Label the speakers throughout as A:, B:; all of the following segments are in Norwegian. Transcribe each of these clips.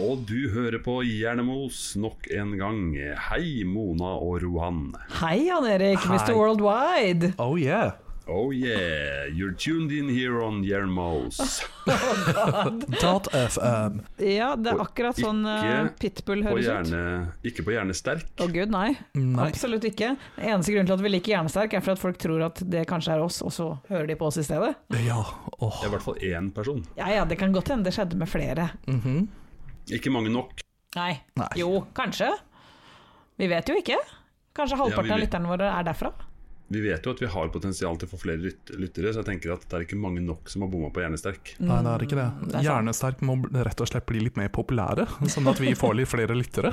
A: Og du hører på Hjernemos nok en gang. Hei, Mona og Rohan.
B: Hei, Jan Erik,
C: Hei.
B: Mr. Worldwide.
C: Oh yeah.
A: Oh yeah, you're tuned in here on Hjernemos.
C: Dot FM.
B: Ja, det er
A: Og
B: akkurat sånn
A: ikke
B: eh, Pitbull
A: På
B: høres ut.
A: hjerne, ikke på hjernesterk.
B: Å gud, nei.
C: Nei.
B: Absolutt ikke. Eneste grunnen til at vi liker Hjernesterk, er for at folk tror at det kanskje er oss, og så hører de på oss i stedet.
C: Ja. Åh.
A: Det er i hvert fall én person.
B: Ja ja, det kan godt hende det skjedde med flere.
C: Mhm.
A: Ikke mange nok.
B: Nei.
C: Nei.
B: Jo, kanskje. Vi vet jo ikke. Kanskje
A: Ja,
B: halvparten av
A: vi vet.
B: lytterne våre er derfra.
A: Vi vet jo at vi har potensial til å få flere lyt- lyttere, så jeg tenker at det er ikke mange nok som har bomma på hjernesterk.
C: Nei, det er ikke
B: Mm, det
C: det.
B: er sant.
C: Hjernesterk må bl- rett og slett bli litt mer populære, sånn at vi får litt flere lyttere.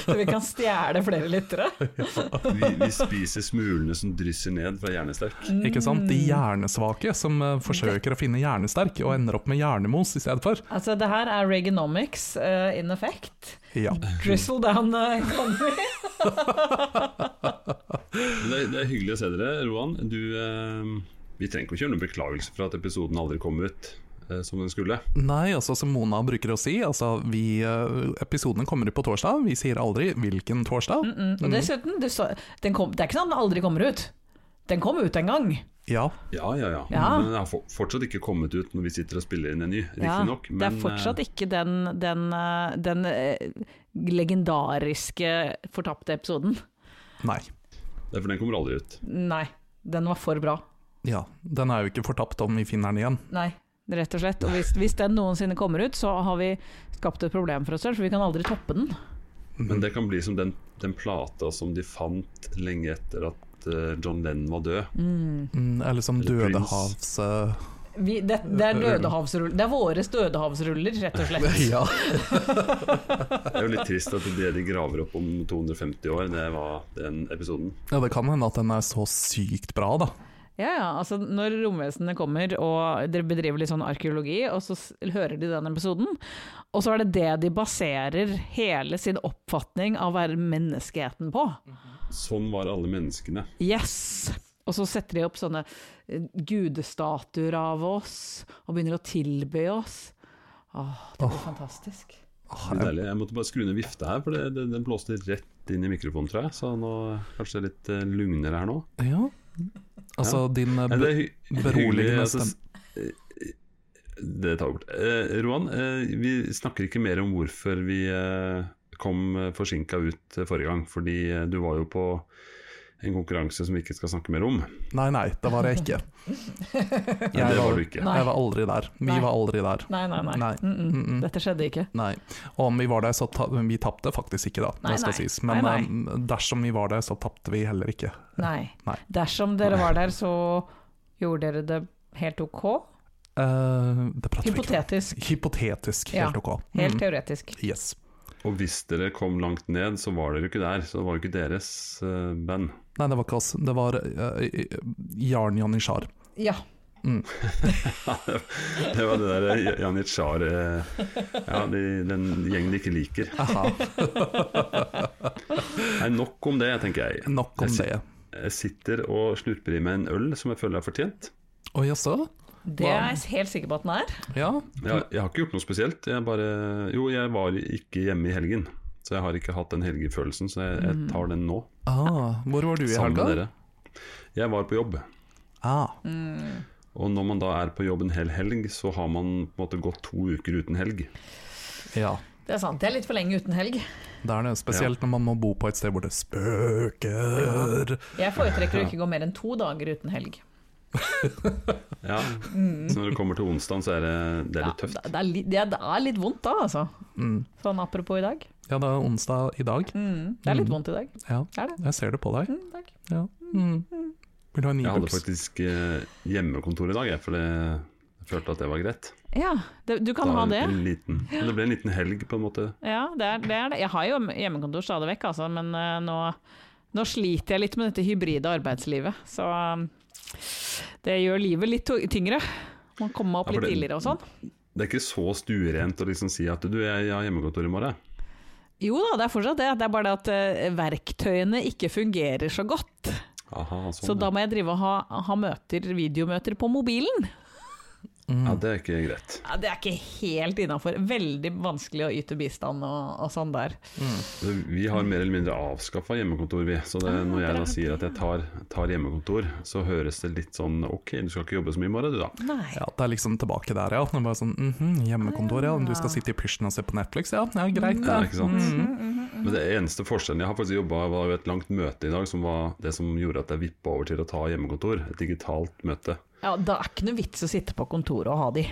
B: Så vi kan stjele flere lyttere.
A: Vi, vi spiser smulene som drysser ned fra hjernesterk.
B: Mm.
C: Ikke sant? De hjernesvake som eh, forsøker å finne hjernesterk, og ender opp med hjernemos i stedet for.
B: Altså, det her er Reaganomics eh, in effect.
C: Ja.
B: Drizzle down the economy.
A: Men det, er- det er hyggelig å se dere, Roan. Du, eh, vi trenger ikke å kjøre noen beklagelse for at episoden aldri kom ut eh, som den skulle.
C: Nei, altså som Mona bruker å si, altså vi, eh, episodene kommer ut på torsdag, vi sier aldri hvilken torsdag.
B: Mm, Og dessuten, du sa, den kom, det er ikke sånn at den aldri kommer ut. Den kom ut en gang.
C: Ja,
A: Ja, ja, ja.
B: Ja.
A: Men den har for- fortsatt ikke kommet ut når vi sitter og spiller inn en ny, riktignok.
B: det er
A: eh,
B: fortsatt ikke den, den, eh, den eh, legendariske fortapte episoden.
C: nei.
A: Derfor den kommer aldri ut.
B: Nei, den var for bra.
C: Ja, den er jo ikke fortapt om vi finner den igjen.
B: Nei, rett og slett. Og hvis, hvis den noensinne kommer ut, så har vi skapt et problem for oss selv, for vi kan aldri toppe den.
A: Men det kan bli som den, den plata som de fant lenge etter at eh, John Lennon var død.
C: Mm, Eller som
A: Eller Prince.
C: Dødehavs... eh,
B: Vi, det, det er dødehavsruller. Det er våre dødehavsruller, rett og slett.
C: ja.
A: Det er jo litt trist at det de graver opp om 250 år, det var den episoden.
C: ja, det kan hende at den er så sykt bra da.
B: Ja, ja. Altså, når romvesenene kommer og dere bedriver litt sånn arkeologi, og så s- hører de den episoden, og så er det det de baserer hele sin oppfatning av å være menneskeheten på.
A: Sånn var alle menneskene.
B: Yes! Og så setter de opp sånne eh, gudestatuer av oss, og begynner å tilbe oss. Åh, det blir fantastisk.
C: Åh,
A: Det er
C: jeg-
A: deilig. Jeg måtte bare skru ned vifta her, for det, det, den blåste rett inn i mikrofonen, tror jeg. Så nå kanskje det er litt eh, lugnere her nå.
C: Ja. Altså din eh,
A: Nei, det er hy
C: beroligende
A: hyggelig, altså, s- eh, Det tar vi bort. Eh, Roan, eh, vi snakker ikke mer om hvorfor vi eh, kom eh, forsinka ut eh, forrige gang. Fordi eh, du var jo på en konkurranse som vi ikke skal snakke mer om. Nei,
C: Nei, nei, det var jeg ikke.
A: det var du ikke.
B: Nei.
C: Jeg var aldri der. Vi
B: Nei.
C: var aldri der.
B: Nei, nei, nei.
C: Nei.
B: Mm -mm.
C: Mm-mm.
B: Dette skjedde ikke.
C: Nei. Og om vi var der, så ta vi tapte faktisk ikke, da.
B: Nei,
C: det skal
B: nei.
C: sies. Men
B: Nei,
C: eh, dersom vi var der, så tapte vi heller ikke.
B: Nei.
C: Nei.
B: Dersom dere var der, så gjorde dere det helt ok.
C: Eh, det prater vi ikke om.
B: Hypotetisk.
C: Hypotetisk, helt
B: Ja.
C: ok.
B: Helt
C: Mm.
B: teoretisk.
C: Yes.
A: Og hvis dere kom langt ned, så var dere jo ikke der. Så det var jo ikke deres eh, band.
C: Nei, det var ikke oss. Det var eh, Jarn Janitsjar.
B: Ja.
A: Det var det der eh, Janitsjar eh, Ja, de, den gjengen de ikke liker.
C: Aha,
A: Nei, nok om det, tenker jeg.
C: Nok om
A: Jeg sit-
C: det.
A: Jeg sitter og slurper i meg en øl som jeg føler er fortjent.
C: Å jaså?
B: Det er jeg helt sikker på at den er.
C: Ja.
A: Jeg, jeg har ikke gjort noe spesielt. Jeg bare, jo, jeg var ikke hjemme i helgen. Så jeg har ikke hatt den helgefølelsen, så jeg, jeg tar den nå.
C: Ah, hvor var du i
A: Sammen med
C: helga?
A: dere. Jeg var på jobb.
C: Ah,
B: Mm.
A: Og når man da er på jobb en hel helg, så har man på en måte gått to uker uten helg.
C: ja.
B: Det er sant. Det er litt for lenge uten helg.
C: Det er det. Spesielt når man må bo på et sted hvor det spøker.
B: Jeg foretrekker å ikke gå mer enn to dager uten helg.
A: Ja. Så når det kommer til onsdag, så er det, det er litt
B: Ja,
A: tøft. Mm.
B: det, det, er litt, det er- det er litt vondt da, altså. Sånn apropos i dag.
C: Ja, det er onsdag i dag.
B: Mm, det er litt vondt i dag.
C: Ja,
B: Det er det.
C: jeg ser det på deg.
B: Mm, takk.
C: Ja. Mm. Vil du ha en
A: Jeg hadde
C: ibups?
A: faktisk eh, hjemmekontor i dag, jeg, for det, jeg følte at det var greit.
B: Ja, det, du kan
A: Da
B: ha
A: en-
B: det.
A: En liten, men det ble en liten helg, på en måte.
B: Ja, det er, det er det. Jeg har jo hjemmekontor stadig vekk, altså, men eh, nå, nå sliter jeg litt med dette hybride arbeidslivet. Så eh, det gjør livet litt to- tyngre. Man kommer opp
A: Ja, for
B: litt
A: det-
B: tidligere og sånn.
A: det er ikke så stuerent å liksom si at du, jeg, jeg har hjemmekontor i morgen.
B: Jo da, det er fortsatt det. Det er bare det at eh, verktøyene ikke fungerer så godt.
A: Aha, sånn,
B: Så da må jeg drive og ha, ha møter, videomøter på mobilen.
A: ja, det er ikke greit.
B: Ja, det er ikke helt innafor. Veldig vanskelig å yte bistand og, og sånn der.
A: Vi har mer eller mindre avskaffa hjemmekontor, vi. Så
B: Ah,
A: det, når jeg da sier at jeg tar, tar hjemmekontor, så høres det litt sånn ok, du skal ikke jobbe så mye i morgen du da.
B: Nei.
C: Ja, det er liksom tilbake der, ja. Det er bare sånn, mhm, hjemmekontor, ja. Du skal sitte i pysjen og se på Netflix, ja. Ja, greit,
A: Ah, Mm, Ja,
C: det.
A: ikke sant?
B: Mm-hmm,
A: Men det eneste forskjellen Jeg har faktisk jobba ved et langt møte i dag, som var det som gjorde at jeg vippa over til å ta hjemmekontor. Et digitalt møte.
B: Ja, da er ikke noe vits å sitte på kontoret og ha de.
A: Nei,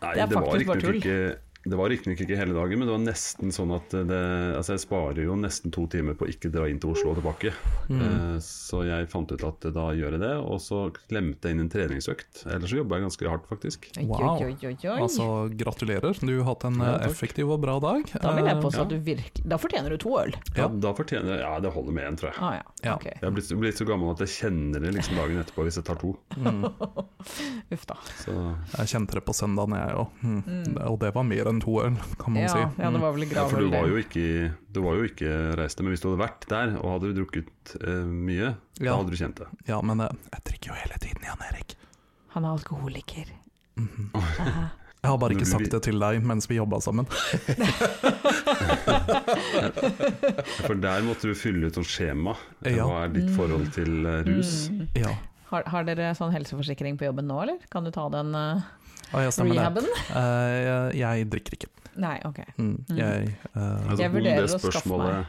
B: Det er
A: det var
B: faktisk bare
A: riktignok
B: tull.
A: ikke det var riktignok ikke hele dagen, men det var nesten sånn at det, altså jeg sparer jo nesten to timer på å ikke dra inn til Oslo og tilbake.
B: Mm.
A: Eh, Så jeg fant ut at da gjør jeg det, og så klemte jeg inn en treningsøkt. Ellers så jobba jeg ganske hardt, faktisk.
B: Oi,
C: Wow.
B: oi, oi, oi.
C: Altså, gratulerer. Du har hatt en
A: Ja,
C: eh,
A: takk.
C: effektiv og bra dag.
B: da vil jeg
C: Eh,
B: påstå at du virkelig Da fortjener du to øl.
A: Ja,
C: Ja.
A: da fortjener jeg Ja, det holder med én, tror jeg.
B: Ah, ja.
C: Ja.
B: Ok.
A: Jeg er blitt, blitt så gammel at jeg kjenner det liksom dagen etterpå hvis jeg tar to.
B: Uff da.
A: Så
C: Eh, mm, Jeg kjente det på søndagen, jeg òg. Mm. Og det var mer enn to øl, kan man
B: Ja,
C: si. Mm.
B: ja, det var vel
A: Ja, for du
B: gravøl,
A: var jo
B: det.
A: ikke, du var jo ikke reist men hvis du hadde vært der og hadde drukket eh, mye, da
C: Mm. Ja.
A: hadde du kjent det.
C: Ja, men eh, jeg drikker jo hele tiden, Jan Erik. Mhm.
B: Han er alkoholiker.
C: Jeg har bare
A: Men
C: ikke
A: vi-
C: sagt det til deg mens vi jobba sammen.
A: For der måtte du fylle ut sånn skjema.
C: Ja.
A: Hva er ditt
B: Mm.
A: forhold til eh, rus?
C: Ja,
B: Har, har dere sånn helseforsikring på jobben nå, eller? Kan du ta den eh,
C: og jeg stemmer det.
B: rehaben?
C: Eh, jeg, jeg drikker ikke.
B: Nei, ok.
C: Mm. Jeg, eh,
A: Altså,
B: Jeg
A: om
B: vurderer
A: det
B: å skaffe
A: spørsmålet-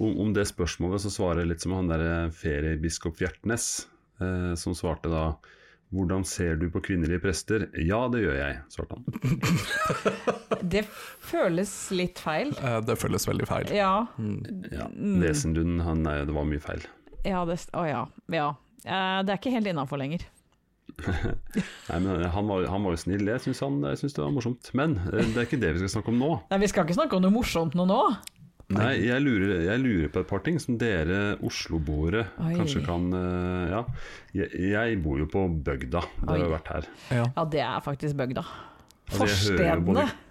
A: Om, om det spørsmålet så svarer jeg litt som han derre feriebiskop Fjertnes, eh, som svarte da hvordan ser du på kvinnelige prester? Ja, det gjør jeg, svarte han.
B: Det føles litt feil.
C: eh, det føles veldig feil.
B: Ja.
A: Ja,
B: Mm.
A: Nesenlund, han, nei, det var mye feil.
B: ja det, å ja. ja. Eh, Det er ikke helt innafor lenger.
A: Nei, men eh, han var, han var jo snill, jeg syns han- jeg syns det var morsomt. Men eh, det er ikke det vi skal snakke om nå.
B: Nei, vi skal ikke snakke om noe morsomt nå nå.
A: Nei, jeg lurer, jeg lurer på et par ting som dere Oslo-boere
B: Oi.
A: kanskje kan eh, Ja, jeg, jeg bor jo på bygda, det har
B: Oi.
A: jo vært her.
C: Ja.
B: Ja, det er faktisk bygda.
A: Altså, jeg hører jo både
B: Forstedene.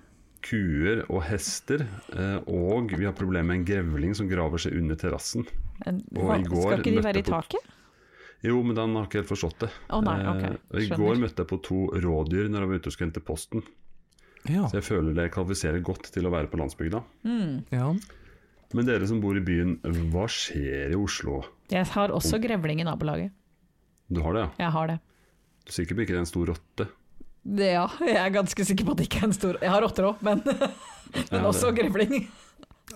A: Kuer og hester, eh, og vi har problemer med en grevling som graver seg under terrassen.
B: En-
A: Og
B: hva-
A: i går
B: Skal ikke de
A: møtte
B: være i
A: på-
B: taket?
A: Jo, men han har ikke helt forstått det.
B: Å, nei, ok.
A: Eh, og I
B: Skjønner.
A: går møtte jeg på to rådyr når jeg var ute og skulle hente posten,
C: Ja.
A: så jeg føler det kvalifiserer godt til å være på landsbygda.
C: ja.
A: Men dere som bor i byen, hva skjer i Oslo?
B: Jeg har også grevling i nabolaget.
A: Du har det, ja?
B: Jeg har det.
A: Du er sikker på ikke det er en stor rotte?
B: det ja, jeg er ganske sikker på at det ikke er en stor Jeg har rotter òg, men, men
A: Ja,
B: også
A: det-
B: grevling.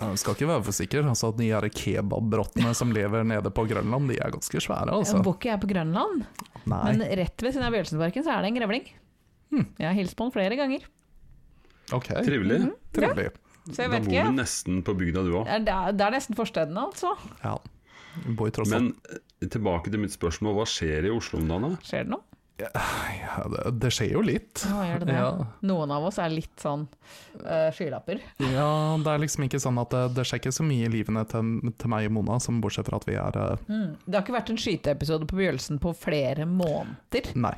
C: Ja, du skal ikke være for sikker. Altså, de her kebabrottene som lever nede på Grønland, de er ganske svære, altså.
B: Jeg bor ikke jeg på Grønland, men
C: Nei.
B: rett ved siden av Bjørnsenparken så er det en grevling.
A: Hm.
B: Jeg har hilst på den flere ganger,
C: Ok,
A: Trivelig.
C: trivelig.
B: så
A: Da
B: jeg Mhm, vet
A: bor du
B: ikke.
A: nesten på bygda du òg.
B: Det er- Det er nesten forstedene, altså.
C: Ja. Vi bor tross alt
A: Men eh, tilbake til mitt spørsmål, hå skjer i Oslo om dagen? da?
B: Skjer det noe?
C: ja, det, det skjer jo litt.
B: Å, gjør det det?
C: Ja.
B: Noen av oss er litt sånn eh, skylapper.
C: Ja, det er liksom ikke sånn at det, det skjer ikke så mye i livene til, til meg og Mona, som bortsett fra at vi er eh,
B: Det har ikke vært en skyteepisode på Bjølsen på flere måneder.
C: Nei,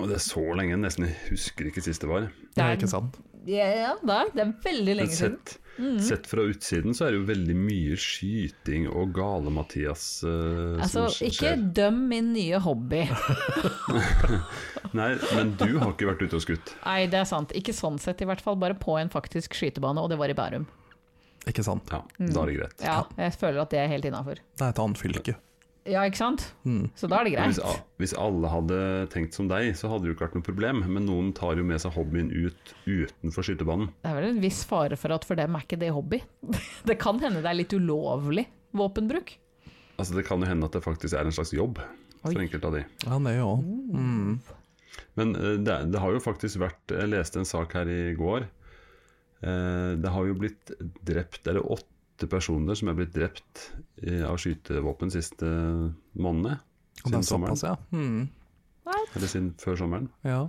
A: Og det er så lenge, nesten jeg husker ikke sist det var.
C: det er
B: Det er-
C: ikke sant.
B: Ja, ja, det er, det er veldig
A: Men
B: lenge siden.
A: sett, sett fra utsiden så er det jo veldig mye skyting og gale-Mathias eh,
B: Altså,
A: som
B: ikke
A: skjer.
B: døm min nye hobby.
A: Nei, men du har ikke vært ute og skutt.
B: Nei, det er sant. Ikke sånn sett, i hvert fall. Bare på en faktisk skytebane, og det var i Bærum.
C: Ikke sant.
A: Ja,
B: Mm.
A: da er det greit.
B: Ja, jeg føler at det er helt innafor.
C: Det er et annet fylke. Mm.
B: Ja, ikke sant? Så da er det
A: Men Hvis,
B: greit.
A: a- hvis alle hadde tenkt som deg, så hadde det jo ikke vært noe problem. Men noen tar jo med seg hobbyen ut utenfor skytebanen.
B: Det er vel en viss fare for at for dem er ikke det hobby. Det kan hende det er litt ulovlig våpenbruk.
A: Altså, det kan jo hende at det faktisk er en slags jobb for
B: Oi.
A: enkelte av de.
C: Ja, det er jo Mm.
A: Men eh, det, det har jo faktisk vært Jeg leste en sak her i går. Eh, Det har jo blitt drept Eller åtte personer som er blitt drept eh, av skytevåpen siste månedene.
C: Og det
A: Siden
C: er såpass,
A: sommeren.
C: ja. Mm,
A: Eller siden før sommeren.
C: ja.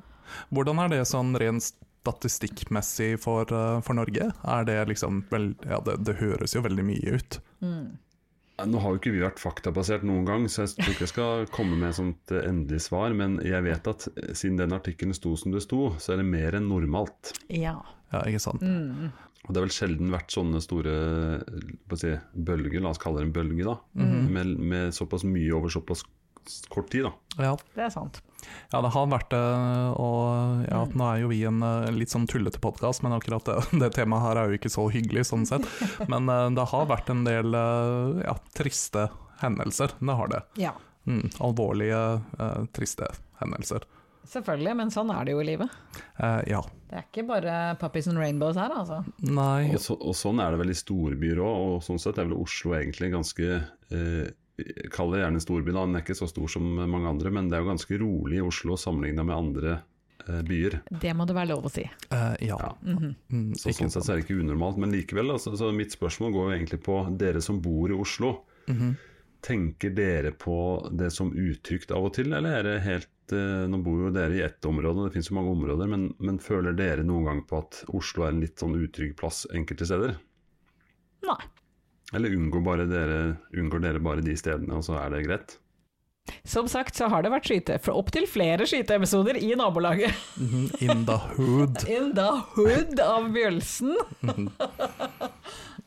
C: Hvordan er det sånn rent statistikkmessig for, eh, for Norge? Er det liksom vel, Ja, det, det høres jo veldig mye ut.
A: Ja, Nå har jo ikke vi vært faktabasert noen gang, så jeg tror ikke jeg skal komme med et sånt eh, endelig svar. Men jeg vet at eh, siden den artikkelen sto som det sto, så er det mer enn normalt.
B: Ja.
C: Ja, ikke sant.
B: Mm.
A: Og det har vel sjelden vært sånne store eh, hva skal jeg si, bølger, la oss kalle det en bølge, da. Med, med såpass mye over såpass kort tid, da.
C: Ja,
B: Det er sant.
C: Ja, det har vært det, og ja, nå er jo vi en eh, litt sånn tullete podkast, men akkurat det, det temaet her er jo ikke så hyggelig sånn sett. Men eh, det har vært en del eh, ja, triste hendelser, det har det.
B: Ja.
C: Mm, alvorlige, eh, triste hendelser.
B: Selvfølgelig, men sånn er det jo i livet.
C: Eh, ja.
B: Det er ikke bare puppies and rainbows her, altså.
C: Nei
A: Og, så, og sånn er det vel i storbyer òg, og sånn sett er vel Oslo egentlig ganske eh, Kall det gjerne en storby, da. Den er ikke så stor som mange andre, men det er jo ganske rolig i Oslo sammenligna med andre eh, byer.
B: Det må det være lov å si.
C: eh, Ja.
A: Ja.
C: Mm,
A: Så
C: ikke
A: sånn sett så er det ikke unormalt, men likevel. Altså, så mitt spørsmål går jo egentlig på dere som bor i Oslo.
C: Mhm.
A: Tenker dere på det som utrygt av og til, eller er det helt eh, Nå bor jo dere i ett område, og det finnes jo mange områder, men, men føler dere noen gang på at Oslo er en litt sånn utrygg plass enkelte steder?
B: Nei.
A: Eller unngår, bare dere, unngår dere bare de stedene, og så er det greit?
B: Som sagt så har det vært skyte, for opptil flere skyteepisoder i nabolaget.
C: Mhm, In the hood.
B: In the hood av Bjølsen.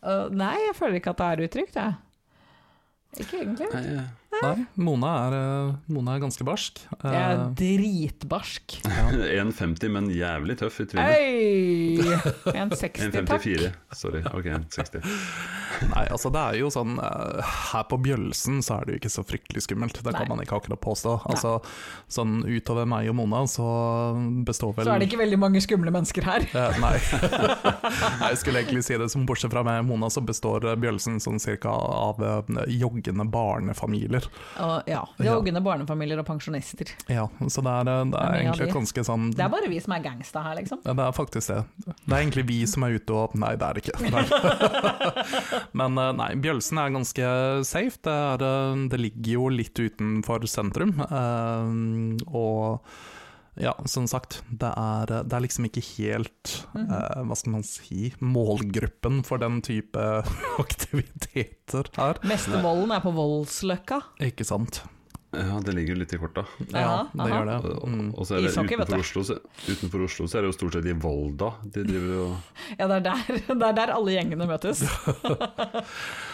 B: Uh, nei, jeg føler ikke at det er utrygt, jeg. Ikke egentlig.
A: Nei, eh,
C: Nei, Mona er, eh, Mona er ganske barsk. Eh,
B: Jeg er dritbarsk.
A: 1,50, men jævlig tøff i trynet.
B: Øy! En 60, takk.
A: 1,54. Sorry. Ok, 1,60.
C: Nei, altså det er jo sånn eh, Her på Bjølsen så er det jo ikke så fryktelig skummelt, det
B: Nei.
C: kan man ikke akkurat påstå. Altså, sånn utover meg og Mona, så består vel
B: Så er det ikke veldig mange skumle mennesker her.
C: Eh, nei. nei, jeg skulle egentlig si det som bortsett fra meg og Mona, så består eh, Bjølsen sånn cirka av eh, joggende barnefamilier.
B: Og, ja, Det er ungene, barnefamilier og pensjonister.
C: Ja, så det er, eh, det
B: Ja,
C: er
B: mye av
C: egentlig
B: de.
C: et ganske sånn
B: Det er bare vi som er gangsta her, liksom.
C: Ja, det er faktisk det. Det er egentlig vi som er ute og Nei, det er det ikke. Nei. Men eh, nei, Bjølsen er ganske safe. Det, er, eh, det ligger jo litt utenfor sentrum. eh, Og ja, som sagt, det er, eh, det er liksom ikke helt eh, Hva skal man si målgruppen for den type aktiviteter her.
B: Meste volden er på Voldsløkka.
C: Ikke sant?
A: Ja, det ligger jo litt i korta.
C: Ja,
B: Aha,
C: det
B: aha.
C: gjør det.
A: Og,
C: Mm.
A: og så er det
B: Ishockey, vet
A: utenfor
B: du.
A: Oslo, så, utenfor Oslo så er det jo stort sett i Volda de driver jo
B: Ja, det er der, det er der alle gjengene møtes.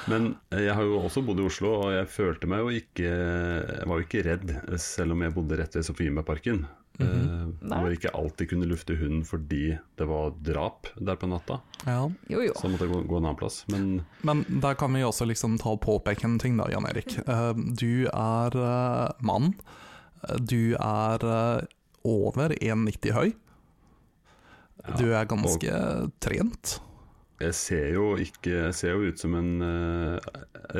A: Men eh, jeg har jo også bodd i Oslo, og jeg følte meg jo ikke Jeg var jo ikke redd, selv om jeg bodde rett ved Sofiemarken.
C: Mhm.
A: Mm
B: Nei.
A: Hvor jeg ikke alltid kunne lufte hunden fordi det var drap der på natta.
C: Ja.
B: Jo, jo.
A: Så jeg måtte gå, gå en annen plass. Men
C: Men der kan vi jo også liksom ta og påpeke en ting da, Jan Erik. Eh, Du er eh, mann. Du er eh, over 1,90 høy. Du er ganske trent.
A: jeg ser jo ikke Jeg ser jo ut som en eh,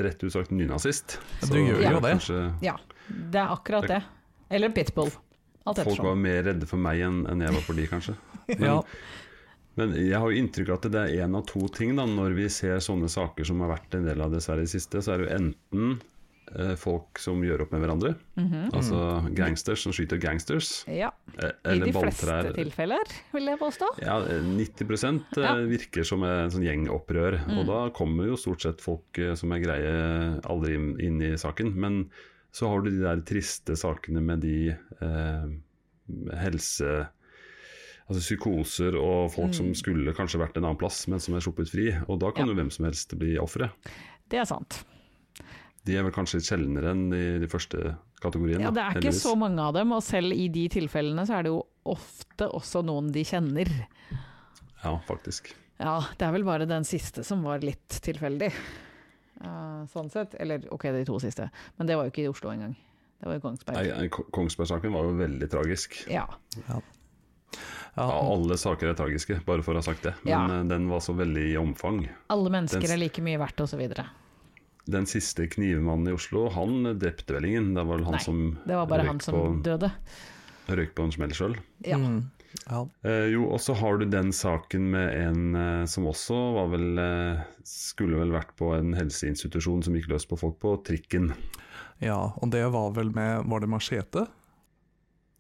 A: rett ut sagt nynazist.
C: Du gjør
B: jo
A: var
C: det.
A: kanskje-
B: Ja, det er akkurat det. Eller pitbull. Alt
A: Folk
B: ettersom.
A: var mer redde for meg enn enn jeg var for de, kanskje. Men,
C: Ja,
A: Men jeg har jo inntrykk av at det er en av to ting da, når vi ser sånne saker som har vært en del av dessverre i det siste, så er det jo enten eh, folk som gjør opp med hverandre, altså gangsters som skyter gangsters,
B: Ja,
A: eh,
B: Mhm. I de
A: eller
B: fleste
A: balltrær.
B: tilfeller, vil jeg påstå.
A: Ja, eh, 90 eh,
B: Ja. Mm.
A: virker som en sånn gjengopprør. Og da kommer jo stort sett folk eh, som er greie, aldri inn- inn i saken. Men så har du de der triste sakene med de eh, helse... Altså psykoser og folk som skulle kanskje vært en annen plass, men som er sluppet fri. Og da kan
B: Mm. Ja.
A: jo hvem som helst bli offeret.
B: Det er sant.
A: De er vel kanskje litt sjeldnere enn de, de første kategoriene.
B: Ja, det er ikke
A: heldigvis.
B: så mange av dem, og selv i de tilfellene så er det jo ofte også noen de kjenner.
A: Ja, faktisk.
B: Ja, det er vel bare den siste som var litt tilfeldig. Eh, sånn sett. Eller ok, de to siste. Men det var jo ikke i Oslo engang. Det var i
A: Nei,
B: Kongsberg.
A: eh, Ko- Kongsberg-saken var jo veldig tragisk.
B: Ja.
C: ja,
A: Ja, alle saker er tragiske, bare for å ha sagt det. Men
B: Ja.
A: eh, den var så veldig i omfang.
B: Alle mennesker
A: Den s-
B: er like mye verdt, osv.
A: Den siste knivmannen i Oslo, han eh, drepte vel ingen. Det var vel han
B: Nei,
A: som
B: Det var bare
A: røyk
B: han
A: på,
B: som døde.
A: røyk på en smell sjøl.
B: Ja.
C: mm, ja.
A: Eh, jo, og så har du den saken med en eh, som også var vel eh, Skulle vel vært på en helseinstitusjon som gikk løs på folk på trikken.
C: ja, og det var vel med Var det machete?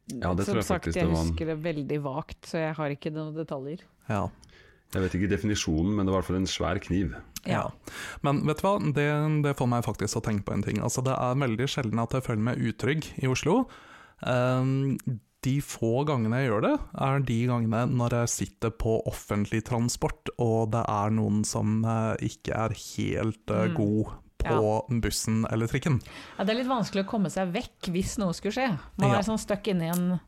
A: Ja, det
B: Som
A: tror jeg
B: sagt,
A: faktisk
B: jeg
A: det var en
B: husker det veldig vagt, så jeg har ikke noen detaljer.
C: Ja.
A: Jeg vet ikke definisjonen, men det var i hvert fall en svær kniv.
B: Ja.
C: Men vet du hva, det, det får meg faktisk å tenke på en ting. Altså, det er veldig sjelden at jeg føler meg utrygg i Oslo. Ehm, de få gangene jeg gjør det, er de gangene når jeg sitter på offentlig transport, og det er noen som eh, ikke er helt eh,
B: Mm.
C: god på bussen eller trikken.
B: Ja, det er litt vanskelig å komme seg vekk hvis noe skulle skje. Man
C: Ja.
B: er sånn stuck inni en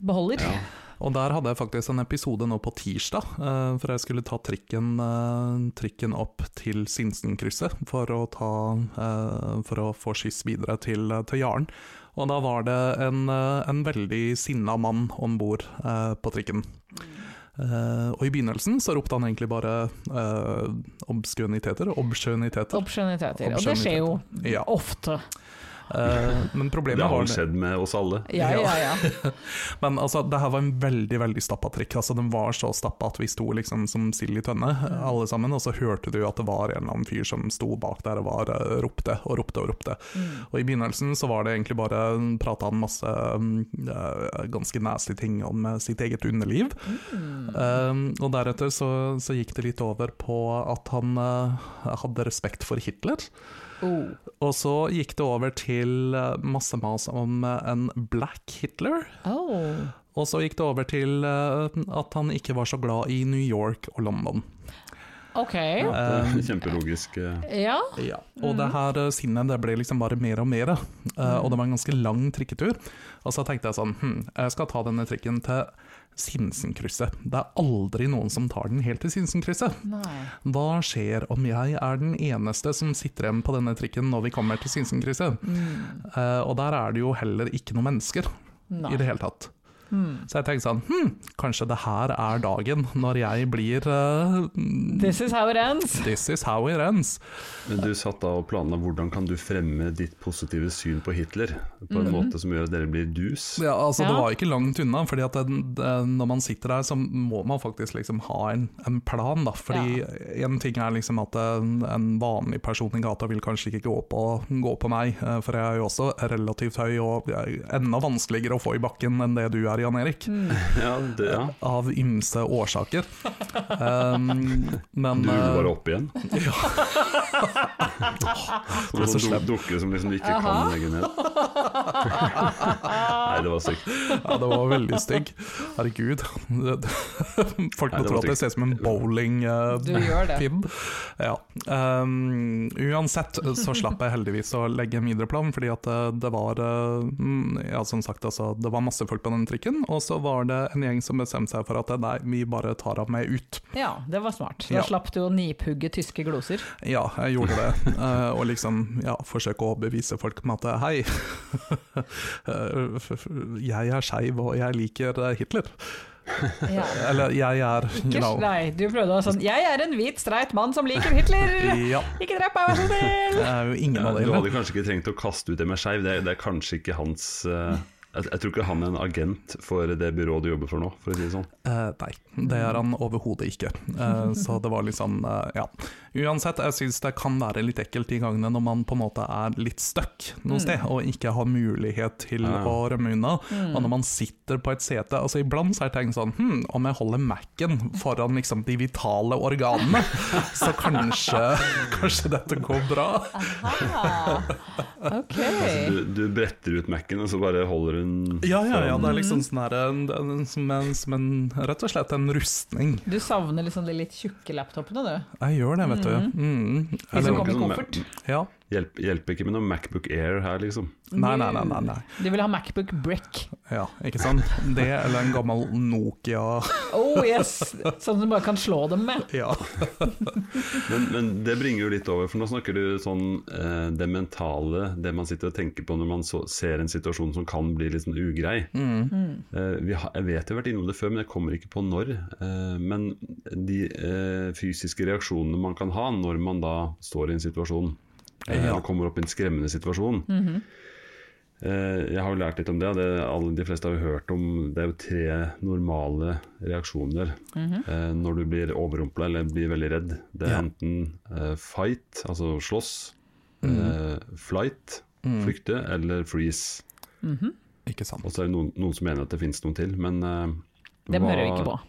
B: beholder.
A: Ja.
C: Og der hadde jeg faktisk en episode nå på tirsdag, eh, for jeg skulle ta trikken, eh, trikken opp til Sinsenkrysset for å, ta, eh, for å få skyss videre til, eh, til Jaren. Og da var det en, eh, en veldig sinna mann om bord eh, på trikken. Eh, og i begynnelsen så ropte han egentlig bare eh, obskøniteter, obskjøniteter.
B: Obskjønniteter. Og det skjer jo
C: Ja.
B: ofte.
C: Eh, men problemet
A: Det har
C: var
A: vel skjedd med oss alle.
B: Ja, ja, ja.
C: Men altså, det her var en veldig veldig stappa trikk. Altså, den var så stappa at vi sto liksom som sild i tønne, alle sammen. Og så hørte du at det var en eller annen fyr som sto bak der og var, eh, ropte og ropte og ropte. Og i begynnelsen så var det egentlig bare prata han masse mm, eh, ganske nasty ting om eh, sitt eget underliv. Eh, og deretter så, så gikk det litt over på at han eh, hadde respekt for Hitler.
B: Oh.
C: Og så gikk det over til eh, masse mas om eh, en black Hitler.
B: Oh.
C: Og så gikk det over til eh, at han ikke var så glad i New York og London.
B: Ok.
A: Ja, det er Kjempelogisk. eh.
B: Ja.
C: Og det her eh, sinnet det ble liksom bare mer og mer. eh, Og det var en ganske lang trikketur. Og så tenkte jeg sånn, hm, jeg skal ta denne trikken til Sinsenkrysset. Det er aldri noen som tar den helt til Sinsenkrysset.
B: Nei.
C: Hva skjer om jeg er den eneste som sitter igjen på denne trikken når vi kommer til Sinsenkrysset? Eh, og der er det jo heller ikke noen mennesker
B: Nei. Hmm.
C: i det hele tatt. Så jeg tenkte sånn, hm, kanskje det her er dagen når jeg blir eh,
B: This is how it ends.
C: This is how it ends.
A: Men du satt da og planla hvordan kan du fremme ditt positive syn på Hitler på en måte som gjør at dere blir dus.
C: Mm. Ja, altså, Det
B: Ja.
C: var ikke langt unna, fordi at den, den, når man sitter der, så må man faktisk liksom ha en, en plan. da. Fordi en ting er liksom at en, en vanlig person i gata vil kanskje ikke gå på, gå på meg, eh, for jeg er jo også relativt høy og jeg er enda vanskeligere å få i bakken enn det du er, Jan Erik.
B: Hmm.
A: Ja, det, ja.
C: Av ymse årsaker. Um, men
A: Du ruller
C: eh,
A: bare opp igjen.
C: Du er så
A: Sånn
C: slem.
A: du- dukke som liksom du ikke kan legge ned. Nei, det var sykt.
C: Ja, det var veldig stygg. Herregud. Folk
A: Nei,
C: må
A: det
C: tro
A: var
C: at jeg
A: stygg.
C: ser ut som en bowlingpinn.
B: Du gjør det.
C: Ja. Um, uansett så slapp jeg heldigvis å legge en videre plan, fordi at eh, det var eh, mm, Ja, som sagt, altså, det var masse folk på den trikken, og så var det en gjeng som bestemte seg for at eh, nei, vi bare tar av meg ut.
B: Ja, det var smart. Da
C: Ja.
B: slapp du å niphugge tyske gloser.
C: Ja, jeg gjorde det. Eh, og liksom ja, forsøke å bevise folk med at hei, eh, f- f- jeg er skeiv og jeg liker eh, Hitler.
B: Ja.
C: Eller jeg er you
B: Ikke-
C: know.
B: Nei, du prøvde å sånn Jeg er en hvit, streit mann som liker Hitler!
C: Ja.
B: Ikke drep meg, vær så snill!
C: Det er jo ingen
A: Ja,
C: av
A: du
C: delene.
A: hadde kanskje ikke trengt å kaste ut det med skeiv, det, er- det er kanskje ikke hans eh, jeg, jeg tror ikke han er en agent for det byrået du jobber for nå, for å si det sånn.
C: Eh, nei, det er han overhodet ikke. Eh, så det var litt sånn, eh, ja. Uansett, jeg syns det kan være litt ekkelt de gangene når man på en måte er litt stuck noe sted, og ikke har mulighet til
A: Ja.
C: å rømme unna. Og når man sitter på et sete altså Iblant så har jeg tenkt sånn hm, Om jeg holder Mac-en foran liksom, de vitale organene, så kanskje, kanskje dette går bra.
B: Ok.
A: Du, du bretter ut Mac-en, og så bare holder hun
C: Ja, ja, ja. Det er liksom sånn her, en- en- som, en, som en Rett og slett en rustning.
B: Du savner liksom de litt tjukke laptopene, du.
C: Jeg gjør det, vet du. Mm.
B: De som
A: det var
B: kommer
A: ikke
B: i
A: sånn
B: koffert.
C: Ja.
A: Hjelp, hjelper ikke med noe Macbook Air her, liksom.
C: Nei, nei, nei. nei, nei.
B: Du vil ha Macbook Brick.
C: Ja, ikke sant? Det eller en gammel Nokia.
B: Oh yes! Sånn som du bare kan slå dem med.
C: Ja.
A: Men, men det bringer jo litt over, for nå snakker du sånn eh, det mentale, det man sitter og tenker på når man så, ser en situasjon som kan bli litt sånn ugrei. Eh, vi har, jeg vet jeg har vært innom det før, men jeg kommer ikke på når. Eh, men de eh, fysiske reaksjonene man kan ha når man da står i en situasjon, eh,
C: Ja.
A: og kommer opp i en skremmende situasjon. Eh, Jeg har jo lært litt om det, og det alle, de fleste har jo hørt om det er jo tre normale reaksjoner
B: Mhm.
A: eh, når du blir overrumpla eller blir veldig redd. Det er
C: Ja.
A: enten eh, fight, altså slåss,
B: Mhm.
A: eh, flight, flykte, eller freeze.
C: Ikke sant.
A: Og så er det noen, noen som mener at det finnes noen til, men eh,
B: Dem
A: hva-
B: hører vi ikke på.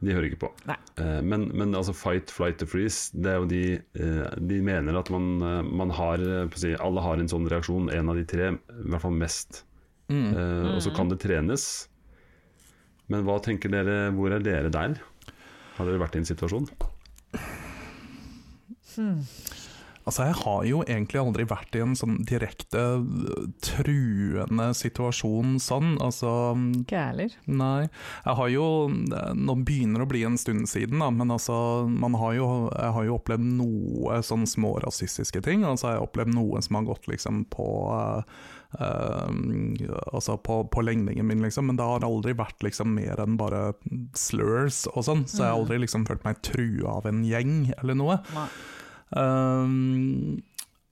A: De hører ikke på.
B: Nei.
A: Eh, Men, men altså fight, flight og freeze, det er jo de eh, De mener at man, eh, man har eh, på å si, Alle har en sånn reaksjon, en av de tre, i hvert fall mest.
C: Mm.
A: Eh, Og så kan det trenes. Men hva tenker dere, hvor er dere der? Har dere vært i en situasjon?
C: Altså, jeg har jo egentlig aldri vært i en sånn direkte øh, truende situasjon sånn. Altså,
B: Ikke jeg heller.
C: nei. Jeg har jo Nå begynner det å bli en stund siden, da, men altså, man har jo, jeg har jo opplevd noe sånn små rasistiske ting. Altså, jeg har opplevd noe som har gått liksom på øh, øh, altså på, på legningen min, liksom, men det har aldri vært liksom mer enn bare slurs og sånn, så jeg har aldri liksom følt meg trua av en gjeng eller noe.
B: Nei.
C: Um,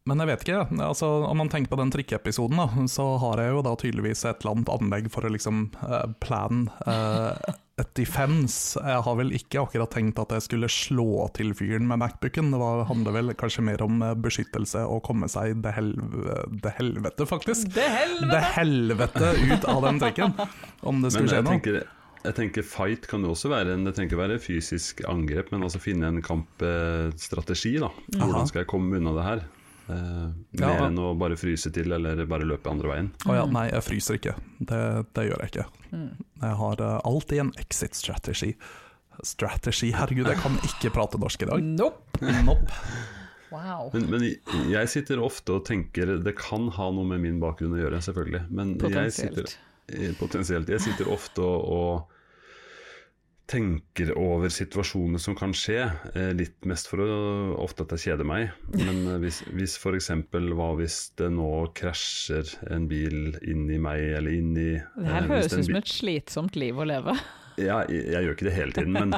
C: men jeg vet ikke. Altså, om man tenker på den trikkeepisoden, da, så har jeg jo da tydeligvis et eller annet anlegg for å liksom eh, plan eh, et defense. Jeg har vel ikke akkurat tenkt at jeg skulle slå til fyren med Macbooken. Det var, handler vel kanskje mer om eh, beskyttelse og komme seg det, helve, det helvete, faktisk.
B: Det helvete!
C: Det helvete ut av den trikken, om det
A: Men
C: skulle skje
A: jeg
C: noe.
A: tenker, jeg tenker fight kan jo også være en, Det trenger ikke være fysisk angrep, men altså finne en kampstrategi. da
C: Aha.
A: Hvordan skal jeg komme unna det her? Eh,
C: Ja.
A: mer enn å bare fryse til eller bare løpe andre veien.
C: Å ja,
B: Mm.
C: nei, jeg fryser ikke. Det, det gjør jeg ikke. Jeg har eh, alltid en exit strategy. Strategy, herregud, jeg kan ikke prate norsk i dag.
B: Nope.
C: Nopp.
B: Wow.
A: Men, men jeg sitter ofte og tenker Det kan ha noe med min bakgrunn å gjøre, selvfølgelig. Men jeg sitter,
B: Potensielt.
A: eh, potensielt. Jeg sitter ofte og, og tenker over situasjoner som kan skje. eh, Litt mest for å, ofte at jeg kjeder meg. Men eh, hvis, hvis f.eks. hva hvis det nå krasjer en bil inn i meg, eller inn i eh,
B: Det her høres ut som et slitsomt liv å leve.
A: ja, jeg, jeg gjør ikke det hele tiden, men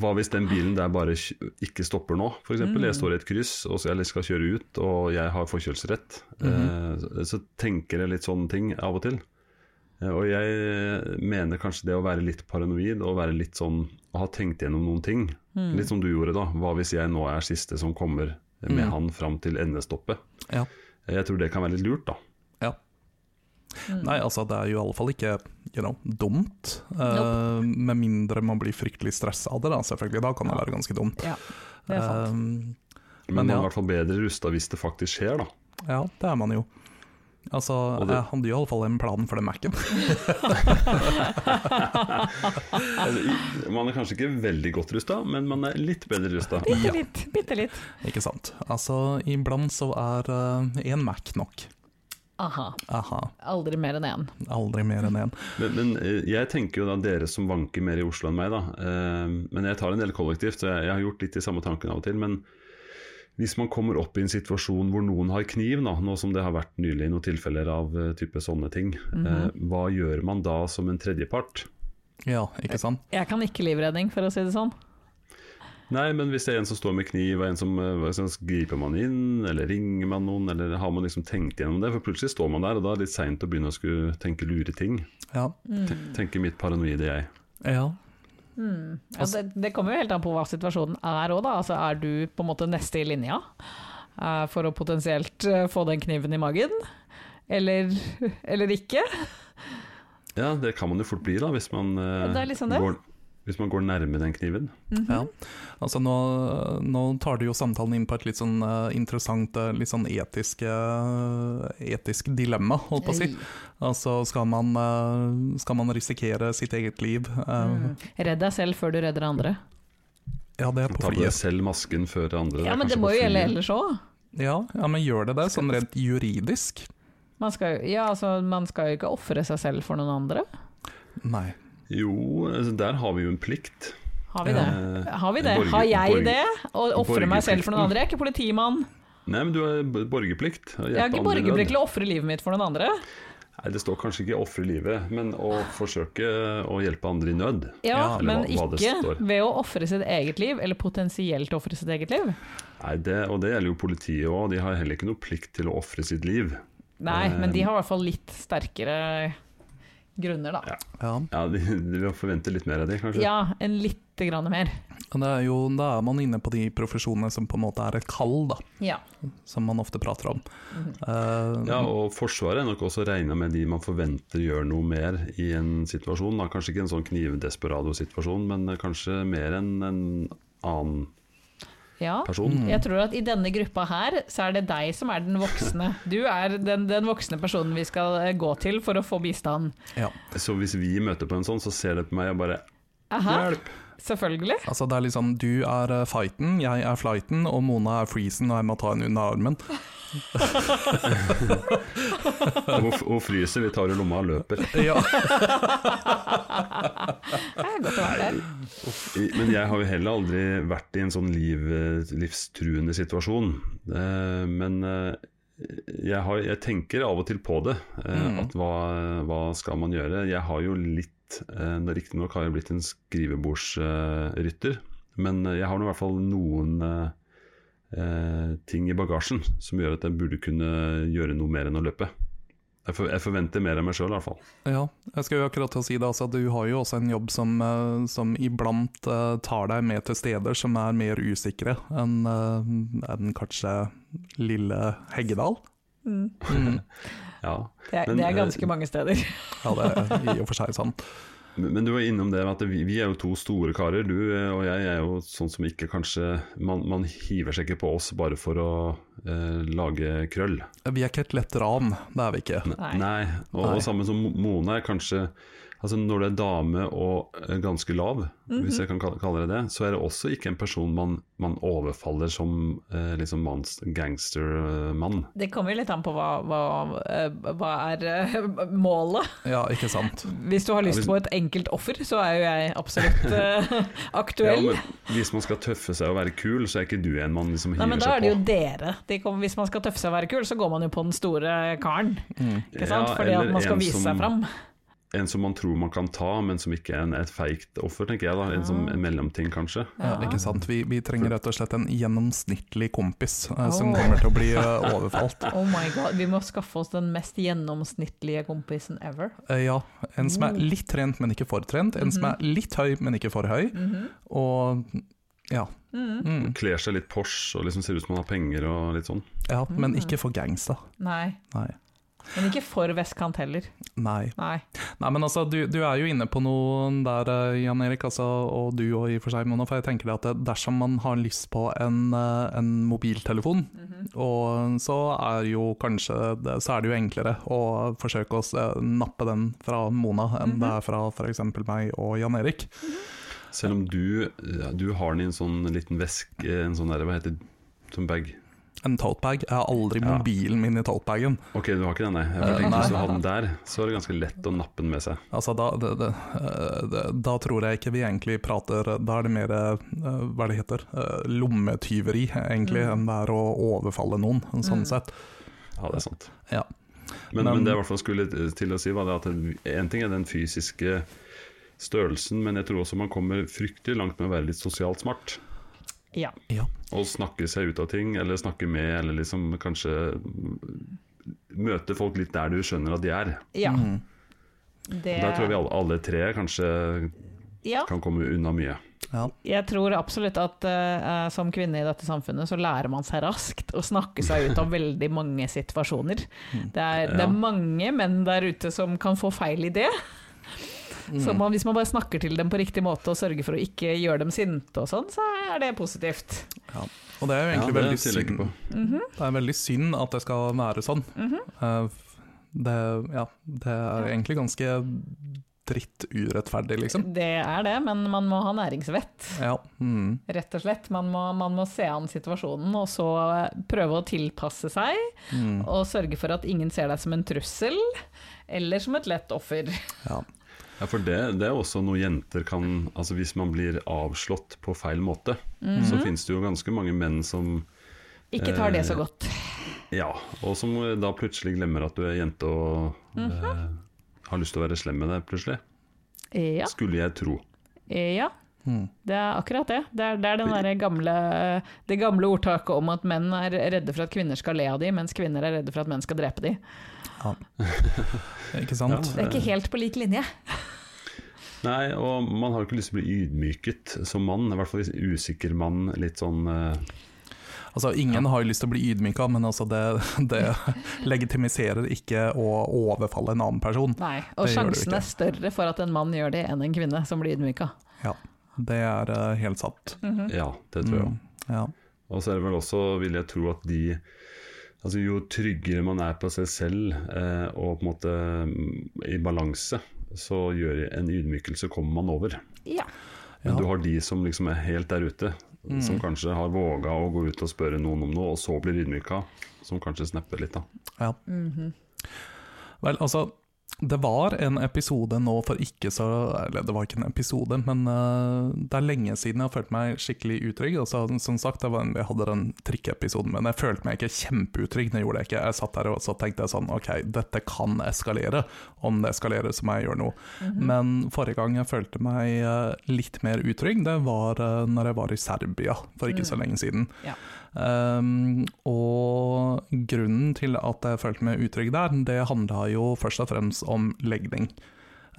A: hva hvis den bilen der bare kj- ikke stopper nå? For eksempel, jeg står i et kryss og så jeg skal kjøre ut, og jeg har forkjølsrett. Eh, så, så tenker jeg litt sånne ting av og til. Eh, og jeg mener kanskje det å være litt paranoid og være litt sånn Å ha tenkt gjennom noen ting. Litt som du gjorde, da. Hva hvis jeg nå er siste som kommer med han fram til endestoppet?
C: Ja.
A: Eh, Jeg tror det kan være litt lurt, da.
C: ja.
B: Mm.
C: Nei, altså, det er jo iallfall ikke you know, dumt. eh, Med mindre man blir fryktelig stressa av det, da, selvfølgelig. Da kan det være ganske dumt.
B: Ja, det er sant.
C: Eh,
A: Men,
C: Men
A: man er i
C: ja.
A: hvert fall bedre rusta hvis det faktisk skjer, da.
C: Eh, ja, det er man jo. Altså,
A: Og det-
C: jeg hadde jo iallfall en plan for den Mac-en.
A: Altså, i- man er kanskje ikke veldig godt rusta, men man er litt bedre rusta.
B: Bitte litt, bitte litt.
C: Ikke sant. Altså, iblant så er én Mac nok.
B: Aha.
C: Aha.
B: Aldri mer enn én.
C: Aldri mer enn én.
A: Men, men eh, jeg tenker jo da dere som vanker mer i Oslo enn meg, da. eh, Men jeg tar en del kollektivt, så jeg jeg har gjort litt de samme tankene av og til. Men hvis man kommer opp i en situasjon hvor noen har kniv, da, nå som det har vært nylig noen tilfeller av eh, type sånne ting, eh, hva gjør man da som en tredjepart?
C: Ja, ikke sant?
B: Jeg kan ikke livredning, for å si det sånn.
A: Nei, men hvis det er en som står med kniv, og en som eh, hva skal jeg si, griper man inn, eller ringer man noen, eller har man liksom tenkt gjennom det? For plutselig står man der, og da er det litt seint å begynne å skulle tenke lure ting.
C: Ja.
B: Mm.
A: Ten- Tenker mitt paranoide jeg.
C: ja.
B: Ja, det, det kommer jo helt an på hva situasjonen er òg, da. Altså, er du på en måte neste i linja eh, for å potensielt eh, få den kniven i magen? Eller, eller ikke?
A: Ja, det kan man jo fort bli da, hvis man, eh,
B: Ja, det er liksom det.
A: Går, hvis man går nærme den kniven.
C: ja. Altså, nå, nå tar du jo samtalen inn på et litt sånn eh, interessant, eh, litt sånn etisk, eh, etisk dilemma, holdt på å si.
A: Um,
C: Altså, skal man, eh, skal man risikere sitt eget liv? Eh,
B: Mm. Redd deg selv før du redder andre.
C: Ja, det er på
A: Ta på deg
C: flyet.
A: selv masken før andre.
B: Ja,
A: er
B: men
A: kanskje
B: det må
A: på
B: jo gjelde
A: flyet.
B: ellers òg.
C: Ja, ja, men gjør det det, sånn rent juridisk?
B: Man, skal jo- ja, altså, man skal jo ikke ofre seg selv for noen andre.
C: Nei.
A: Jo, altså, der har vi jo en plikt.
B: Har vi det?
A: Eh,
B: Har, vi det?
A: borger-
B: Har jeg
A: borger-
B: det? Å ofre meg selv for
A: borgerplikten.
B: noen andre? Jeg er ikke politimann.
A: Nei, men du har b- borgerplikt.
B: Jeg har ikke borgerplikt til å ofre livet mitt for noen andre.
A: Nei, det står kanskje ikke 'ofre livet', men å forsøke å hjelpe andre i nød.
B: Ja,
C: Ja,
A: eller
B: men
A: hva- hva det
B: ikke
A: står.
B: ved å ofre sitt eget liv, eller potensielt ofre sitt eget liv.
A: Nei, det, og det gjelder jo politiet òg, de har heller ikke noe plikt til å ofre sitt liv.
B: Nei, men
A: Eh,
B: de har i hvert fall litt sterkere grunner, da.
A: Ja.
C: Ja.
A: Ja, de, de forventer litt mer av det, kanskje.
B: Ja, en litt lite grann mer.
C: Og det er jo, da er man inne på de profesjonene som på en måte er et kall, da,
B: Ja.
C: som man ofte prater om.
B: Mhm.
C: Eh,
A: Ja, og Forsvaret er nok også regna med de man forventer gjør noe mer i en situasjon. Da. Kanskje ikke en sånn knivdesperado-situasjon, men eh, kanskje mer enn en annen
B: ja.
A: person.
B: Jeg tror at i denne gruppa her, så er det deg som er den voksne. Du er den, den voksne personen vi skal eh, gå til for å få bistand.
C: ja.
A: Så hvis vi møter på en sånn, så ser det på meg og bare
B: Aha,
A: Hjelp!
B: selvfølgelig.
C: Altså det er liksom du er eh, fighten, jeg er flighten, og Mona er freezen, og jeg må ta henne under armen.
A: Hun, hun fryser, vi tar i lomma og løper.
C: Ja.
B: Det er godt å være der.
A: I- Men jeg har jo heller aldri vært i en sånn liv, livstruende situasjon. Eh, Men eh, jeg, har, jeg tenker av og til på det. eh,
C: Mm.
A: At hva, hva skal man gjøre? Jeg har jo litt eh, Riktignok har jeg blitt en skrivebordsrytter, men jeg har nå i hvert fall noen eh, eh, ting i bagasjen som gjør at jeg burde kunne gjøre noe mer enn å løpe. Jeg, for, jeg forventer mer av meg sjøl, i hvert fall.
C: ja. Jeg skal jo akkurat til å si det, altså du har jo også en jobb som, eh, som iblant eh, tar deg med til steder som er mer usikre enn eh, enn kanskje lille Heggedal.
B: Mm.
C: Mm.
A: Ja.
B: Det, er-
A: Men,
B: det er
A: eh,
B: ganske mange steder.
C: Ja, det er i og for seg sant.
A: Men men du var innom det med at vi, vi er jo to store karer. Du eh, og jeg er jo sånn som ikke kanskje Man, man hiver seg ikke på oss bare for å eh, lage krøll.
C: Vi er ikke et lett ran, det er vi ikke.
A: Ne-
B: Nei.
A: Og,
C: Nei.
A: og sammen som Mo- Mona er kanskje Altså Når du er dame og eh, ganske lav, hvis
B: Mhm.
A: jeg kan kal- kalle det det, så er det også ikke en person man, man overfaller som eh, liksom manns, gangstermann.
B: Det kommer jo litt an på hva, hva, eh, hva er eh, målet.
C: Ja, ikke sant.
B: Hvis du har lyst
A: hvis-
B: på et enkelt offer, så er jo jeg absolutt eh, aktuell.
A: Ja, men hvis man skal tøffe seg og være kul, så er ikke du en man liksom hiver
B: Nei, men da
A: seg
B: er det jo
A: på.
B: dere. De kommer, hvis man skal tøffe seg og være kul, så går man jo på den store karen. Ikke
A: Mm.
B: sant?
A: Ja,
B: Fordi at
A: eller
B: man skal
A: en
B: vise
A: som-
B: seg fram.
A: En som man tror man kan ta, men som ikke er en, et feigt offer, tenker jeg da. En, som, en mellomting, kanskje.
C: Ja, ikke sant? Vi, vi trenger rett og slett en gjennomsnittlig kompis eh, som
B: Åh.
C: kommer til å bli eh, overfalt.
B: Oh my god, vi må skaffe oss den mest gjennomsnittlige kompisen ever.
C: Eh, Ja, en som er litt trent, men ikke for trent. En som er litt høy, men ikke for høy. Og ja. Mm.
A: Kler seg litt Porsche og liksom ser ut som man har penger og litt sånn.
C: ja, men ikke for gangsta.
B: Nei,
C: Nei.
B: men ikke for vestkant heller.
C: Nei.
B: Nei.
C: Nei, men altså, du, du er jo inne på noe der, eh, Jan Erik, altså, og du og i og for seg, Mona. For jeg tenker at eh, dersom man har lyst på en, eh, en mobiltelefon, og så er jo kanskje det, så er det jo enklere å forsøke å s- eh, nappe den fra Mona enn det er fra f.eks. meg og Jan Erik.
A: Selv om du, ja, du har den i en sånn liten veske, en sånn der, hva heter det, som bag.
C: En toatbag. Jeg har aldri
A: Ja.
C: mobilen min i toatbagen.
A: Ok, du har ikke den, nei. Jeg bare
C: Eh,
A: tenkte
C: nei.
A: Hvis du hadde den der, så er det ganske lett å nappe den med seg.
C: Altså, da, det, det, eh, det, da tror jeg ikke vi egentlig prater Da er det mer eh, hva det heter, eh, lommetyveri,
A: Mm.
C: egentlig, enn det er å overfalle noen, sånn
B: Mm.
C: sett.
A: Ja, det er sant.
C: Ja.
A: Men,
C: Men-
A: men det jeg i hvert fall skulle eh, til å si, var det at en ting er den fysiske størrelsen, men jeg tror også man kommer fryktelig langt med å være litt sosialt smart.
B: Ja.
C: Ja.
A: Å snakke seg ut av ting, eller snakke med, eller liksom kanskje møte folk litt der du skjønner at de er.
B: ja.
C: Mm.
B: Det,
A: Der tror jeg vi alle, alle tre kanskje
B: ja.
A: kan komme unna mye.
C: Ja.
B: Jeg tror absolutt at eh, som kvinne i dette samfunnet, så lærer man seg raskt å snakke seg ut av veldig mange situasjoner. Det er,
A: Mm.
B: det
A: Ja.
B: er mange menn der ute som kan få feil idé.
A: Mm.
B: Så
C: Mm.
B: man, hvis man bare snakker til dem på riktig måte og sørger for å ikke gjøre dem sinte og sånn, så er det positivt. Mhm.
C: Og det er jo
A: Ja,
C: egentlig
A: det
C: veldig,
A: tviler jeg ikke
C: synd, det er veldig synd at det skal være sånn.
A: Mhm.
C: Eh, det, ja, det er egentlig ganske dritt urettferdig, liksom.
B: Det er det, men man må ha næringsvett.
C: Ja. Mm.
B: Rett og slett. Man må, man må se an situasjonen, og så eh, prøve å tilpasse seg.
C: Mm.
B: Og sørge for at ingen ser deg som en trussel, eller som et lett offer.
C: Ja.
A: Ja, for det, det er også noe jenter kan Altså Hvis man blir avslått på feil måte,
C: Mhm.
A: så finnes det jo ganske mange menn som
B: Ikke tar det så
A: Eh,
B: godt.
A: Ja, og som da plutselig glemmer at du er jente og
C: Mhm.
A: eh, har lyst til å være slem med deg plutselig.
B: Eh, Ja.
A: Skulle jeg tro.
B: eh, ja.
C: Mm.
B: Det er akkurat det. Det er, det er den derre gamle, det gamle ordtaket om at menn er redde for at kvinner skal le av dem, mens kvinner er redde for at menn skal drepe dem.
C: Ikke sant? Eh,
B: Det er ikke helt på lik linje.
A: Nei, og man har jo ikke lyst til å bli ydmyket som mann. I hvert fall hvis usikker mann, litt sånn eh,
C: Altså, ingen har jo lyst til å bli ydmyka, men altså det, det legitimiserer ikke å overfalle en annen person.
B: Nei, og
C: Det gjør det
B: sjansen er større for at en mann gjør det enn en kvinne som blir ydmyka.
C: Ja, det er eh, helt sant.
A: Ja, det tror jeg.
C: Mm, ja.
A: Og så er det vel også, vil jeg tro at de Altså Jo tryggere man er på seg selv eh, og på en måte mm, i balanse, så gjør en ydmykelse kommer man over.
B: Ja.
A: Men
C: Ja. Mhm.
A: du har de som liksom er helt der ute, som kanskje har våga å gå ut og spørre noen om noe, og så blir ydmyka. Som kanskje snapper litt, da.
C: Ja.
B: Mhm,
C: Vel, altså det var en episode nå for ikke så Eller det var ikke en episode, men eh, det er lenge siden jeg har følt meg skikkelig utrygg. Altså, som sagt, det var en, Jeg hadde den trikkeepisoden, men jeg følte meg ikke kjempeutrygg. Det gjorde jeg ikke. Jeg satt der og så tenkte jeg sånn Ok, dette kan eskalere. Om det eskalerer, så må jeg gjøre noe.
B: mhm.
C: Men forrige gang jeg følte meg eh, litt mer utrygg, det var uh, når jeg var i Serbia for ikke så lenge siden.
B: Ja.
C: Um, og grunnen til at jeg følte meg utrygg der, det handla jo først og fremst om legning.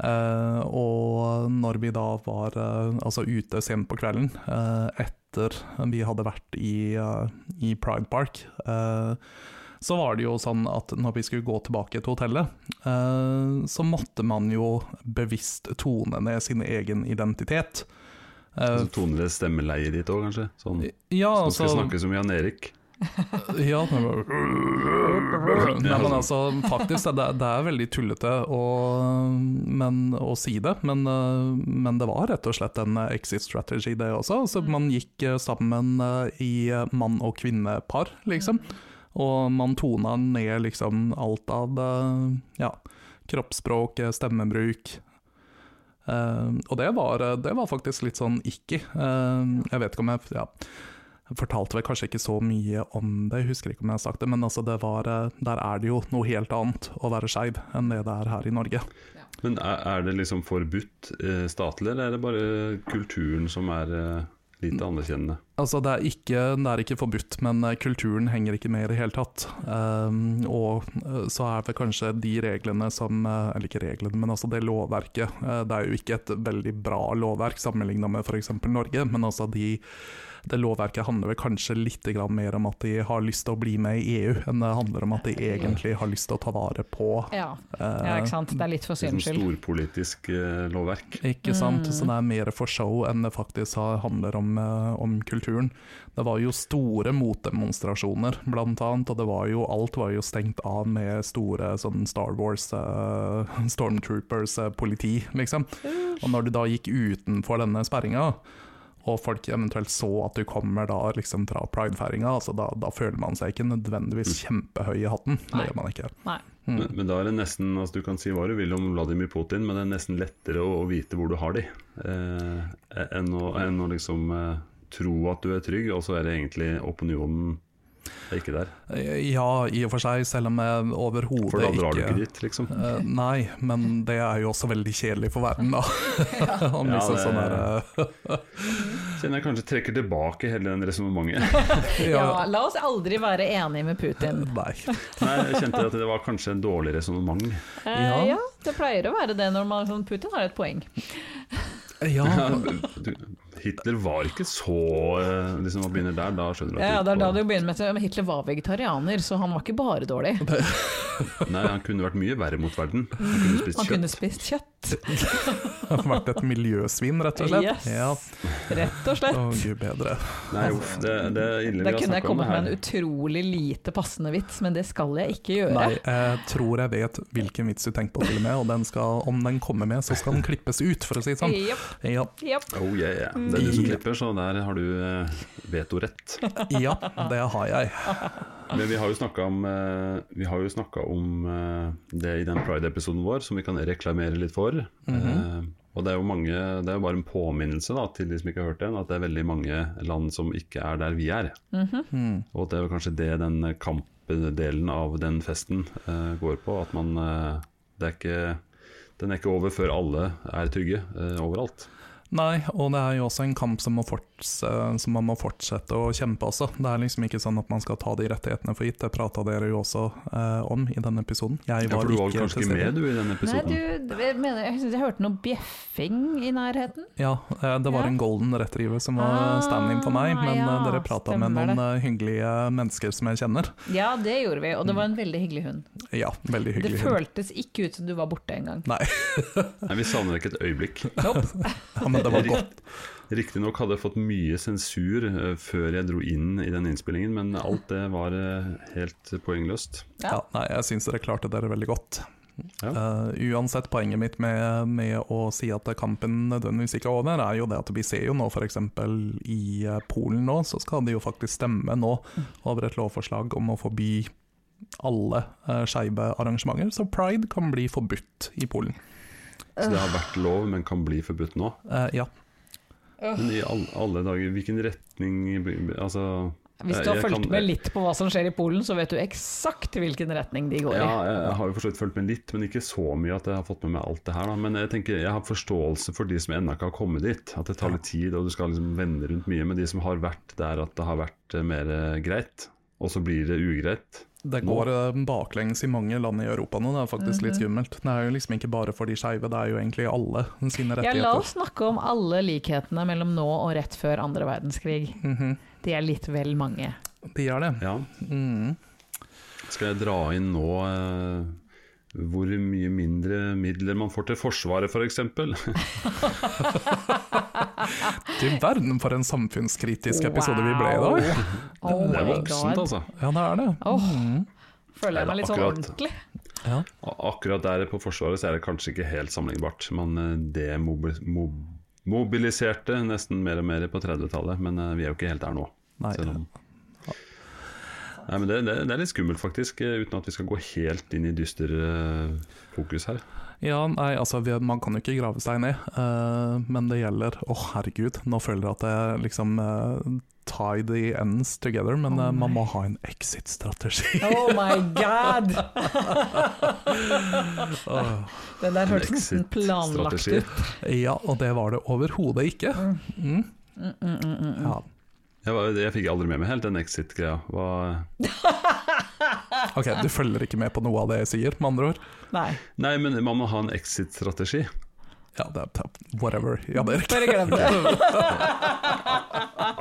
C: Eh, og når vi da var eh, altså ute sent på kvelden, eh, etter vi hadde vært i, eh, i Pride Park, eh, så var det jo sånn at når vi skulle gå tilbake til hotellet, eh, så måtte man jo bevisst tone ned sin egen identitet. Eh,
A: Så toner det stemmeleiet ditt òg, kanskje? Sånn, så
C: ja,
A: du skal
C: altså-
A: snakke som Jan Erik.
C: Ja, det var- Nei, men altså, faktisk, det, det er veldig tullete å, men, å si det, men, eh, men det var rett og slett en eh, exit strategy, det også. Så man gikk eh, sammen eh, i eh, mann- og kvinnepar, liksom. Og man tona ned liksom alt av eh, ja, kroppsspråk, eh, stemmebruk. Eh, og det var, eh, det var faktisk litt sånn icky. Eh, jeg vet ikke om jeg ja, jeg fortalte vel kanskje ikke så mye om det, jeg husker ikke om jeg har sagt det, men altså det var, eh, der er det jo noe helt annet å være skeiv enn det det er her i Norge.
A: Men er, er det liksom forbudt eh, statlig, eller er det bare kulturen som er eh, lite anerkjennende?
C: Altså det er ikke, det er ikke forbudt, men eh, kulturen henger ikke med i det hele tatt. Ehm, og eh, så er det kanskje de reglene som, eh, eller ikke reglene, men altså det lovverket, eh, det er jo ikke et veldig bra lovverk sammenlignet med for eksempel Norge, men altså de, det lovverket handler vel kanskje litt grann mer om at de har lyst til å bli med i EU, enn det handler om at de egentlig har lyst til å ta vare på
B: Ja.
C: eh,
B: ja, ikke sant. Det er litt for
A: Liksom
B: syns skyld.
A: storpolitisk eh, lovverk.
C: Ikke sant? Så det
B: Mm.
C: er mer for show enn det faktisk har- handler om, eh, om kulturen. Det var jo store motdemonstrasjoner, blant annet, og det var jo, alt var jo stengt av med store sånn Star Wars, eh, Stormtroopers, eh, politi, liksom. Og når du da gikk utenfor denne sperringa, og folk eventuelt så at du kommer da liksom fra pridefeiringa, altså da, da føler man seg ikke nødvendigvis
A: Mm.
C: kjempehøy i hatten.
B: Nei.
C: Det gjør man ikke.
B: Nei.
C: Mm.
A: Men, men da er det nesten, altså du kan si hva du vil om Vladimir Putin, men det er nesten lettere å, å vite hvor du har de, eh, enn, å, enn å liksom eh, tro at du er trygg, og så er det egentlig opinionen er ikke der.
C: Ja, i og for seg, selv om jeg overhodet ikke
A: For da drar du ikke dit, liksom.
C: Eh, nei, men det er jo også veldig kjedelig for verden, da. Om
A: Ja,
C: liksom
A: det-
C: sånn der,
A: Kjenner jeg kanskje trekker tilbake hele den resonnementet.
C: eh,
B: Ja,
C: ja,
B: la oss aldri være enige med Putin.
C: Nei.
A: Nei, jeg kjente at det var kanskje en dårlig resonnement.
B: Eh,
C: Ja.
B: ja, det pleier å være det når man sånn, Putin har et poeng.
C: Ja,
A: Hitler var ikke så eh, Liksom man begynner der, da skjønner du
B: Ja, ja, det er da
A: var-
B: det jo begynner med at men Hitler var vegetarianer, så han var ikke bare dårlig.
A: Nei, han kunne vært mye verre mot verden. Han kunne spist
B: Mm, Han
A: kjøtt.
B: kunne spist kjøtt.
C: det har vært et miljøsvin, rett og slett.
B: Yes.
C: Ja.
B: Rett og
C: Å,
B: slett.
C: gud bedre.
A: Nei, uff, det, det er ille vi
B: Da
A: har
B: kunne jeg
A: snakket om
B: kommet
A: det her.
B: med en utrolig lite passende vits, men det skal jeg ikke gjøre.
C: Nei, jeg tror jeg vet hvilken vits du tenker på til og med, og den skal, om den kommer med, så skal den klippes ut, for å si det sånn.
B: Japp,
C: Ja,
B: japp.
A: Oh yeah, yeah. Det er du
B: Mm.
A: som
C: Ja.
A: klipper, så der har du eh, vetorett.
C: ja det har jeg.
A: Men vi har jo snakka om, eh, vi har jo snakket om eh, det i den pride-episoden vår, som vi kan reklamere litt for.
B: Mhm.
A: Eh, og det er jo mange, det er jo bare en påminnelse da, til de som ikke har hørt den, at det er veldig mange land som ikke er der vi er.
B: Mhm.
C: Mm.
A: Og at det er jo kanskje det den kampdelen av den festen eh, går på. At man eh, det er ikke, Den er ikke over før alle er trygge eh, overalt.
C: Nei, og det er jo også en kamp som må fort, forts, eh, så man må fortsette å kjempe også. Det er liksom ikke sånn at man skal ta de rettighetene for gitt. Det prata dere jo også eh, om i denne episoden. Jeg
A: Ja, for
C: var
A: du var
C: ikke
A: kanskje
C: til
A: ikke
C: stede.
A: med du i denne
B: Nei,
A: episoden?
B: du, jeg, mener, jeg synes jeg hørte noe bjeffing i nærheten.
C: Ja, eh, det var
B: Ja.
C: en golden retriever som
B: Ah,
C: var stand-in for meg, men eh,
B: ja,
C: dere prata med
B: stemmer
C: noen eh, hyggelige mennesker som jeg kjenner.
B: Ja, det gjorde vi, og det var en veldig hyggelig hund.
C: Ja, veldig
B: Det
C: hyggelig. hund.
B: føltes ikke ut som du var borte engang.
C: Nei,
A: Nei, vi savner deg ikke et øyeblikk.
C: ja, men det var godt.
A: Riktignok hadde jeg fått mye sensur eh, før jeg dro inn i den innspillingen, men alt det var eh, helt poengløst.
B: Ja.
C: Ja, nei, jeg syns dere klarte dere veldig godt.
A: Ja.
C: Eh, uansett, poenget mitt med, med å si at kampen nødvendigvis ikke er over, er jo det at vi ser jo nå f.eks. i eh, Polen nå, så skal de jo faktisk stemme nå
B: Mm.
C: over et lovforslag om å forby alle uh, skeive arrangementer. Så pride kan bli forbudt i Polen.
A: Så det har vært lov, men kan bli forbudt nå.
C: Eh, ja.
A: Men i alle, alle dager, hvilken retning Altså
B: Hvis du
A: Jeg
B: har
A: kan-
B: fulgt med litt på hva som skjer i Polen, så vet du eksakt hvilken retning de går i.
A: Ja, jeg jeg har jo forstått fulgt med litt, men ikke så mye at jeg har fått med meg alt det her. Da. Men jeg tenker, jeg har forståelse for de som ennå ikke har kommet dit. At det tar litt tid, og du skal liksom vende rundt mye. Men de som har vært der at det har vært eh, mer eh, greit, og så blir det ugreit.
C: Det går eh, baklengs i mange land i Europa nå, det er faktisk
B: Mhm.
C: litt skummelt. Det er jo liksom ikke bare for de skeive, det er jo egentlig alle sine
B: Ja, la
C: rettigheter.
B: oss snakke om alle likhetene mellom nå og rett før andre verdenskrig.
C: Mhm.
B: De er litt vel mange.
C: De er det.
A: Ja.
C: Mhm.
A: Skal jeg dra inn nå eh, hvor mye mindre midler man får til Forsvaret, f.eks.? For
C: Du verden for en samfunnskritisk episode vi ble i
B: Wow.
C: dag.
B: Oh
A: det er
B: my
A: voksent,
B: god.
A: altså.
C: Ja, det er det.
B: Åh,
C: Mhm.
B: føler
A: Nei,
B: jeg meg litt sånn
A: akkurat.
B: ordentlig.
A: Og Akkurat der på Forsvaret så er det kanskje ikke helt sammenlignbart. Man eh, demobil- mo- mobiliserte nesten mer og mer på 30-tallet, men eh, vi er jo ikke helt der nå.
C: Nei.
A: Selv om Nei, men det, det, det er litt skummelt, faktisk, eh, uten at vi skal gå helt inn i dyster eh, fokus her.
C: Ja, nei, altså, vi, man kan jo ikke grave seg ned, eh, men det gjelder Å, herregud, nå føler jeg at jeg liksom eh, tie the ends together, men
B: Å,
C: eh, man
B: nei.
C: må ha en exit-strategi.
B: Oh my god!
C: Åh.
B: Den der hørtes nesten planlagt
A: Exit-strategi.
B: ut.
C: ja, og det var det overhodet ikke. Mhm.
B: Mm, mm, mm, mm.
C: Ja.
A: Jeg, var- det fikk jeg aldri med meg helt, den exit-greia. Hva-
C: Ok, du følger ikke med på noe av det jeg sier, med andre ord?
B: Nei,
A: Nei, men man må ha en exit-strategi.
C: Ja, det er whatever. Ja, det er
B: bare glem det.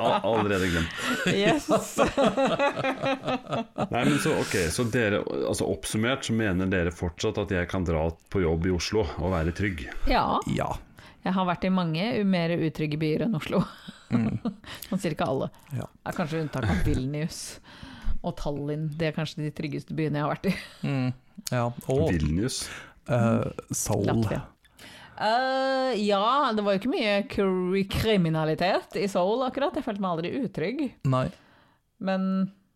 A: Al- Allerede glemt.
B: Yes.
A: Nei, men så, ok, så dere, altså Oppsummert så mener dere fortsatt at jeg kan dra på jobb i Oslo og være trygg.
B: Ja,
C: Ja.
B: jeg har vært i mange mer utrygge byer enn Oslo.
C: Mm,
B: Sånn cirka alle.
C: Ja.
B: Er kanskje unntak av Vilnius og Tallinn. Det er kanskje de tryggeste byene jeg har vært i.
C: Mm. ja. Og
A: Vilnius.
C: eh, Soul.
B: Latvia. Eh, ja, det var jo ikke mye kri- kriminalitet i Seoul akkurat. Jeg følte meg aldri utrygg.
C: Nei.
B: Men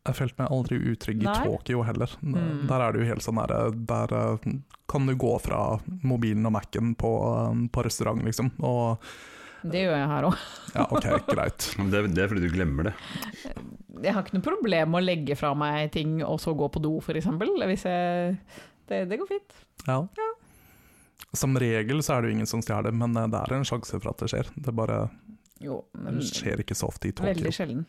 C: Jeg følte meg aldri utrygg i
B: Nei.
C: Tokyo heller.
B: Mm.
C: Der er det jo helt sånn der, der eh, kan du gå fra mobilen og Mac-en på, eh, på restaurant, liksom. Og
B: det gjør jeg her òg.
C: ja, OK, greit.
A: Men Det, det er fordi du glemmer det.
B: Jeg har ikke noe problem med å legge fra meg ting og så gå på do, f.eks. Hvis jeg det, det går fint.
C: Ja. Som regel så er det jo ingen som stjeler, men eh, det er en sjanse for at det skjer. Det bare
B: Jo, men
C: det skjer ikke så ofte i Tokyo.
B: Mm. veldig sjelden.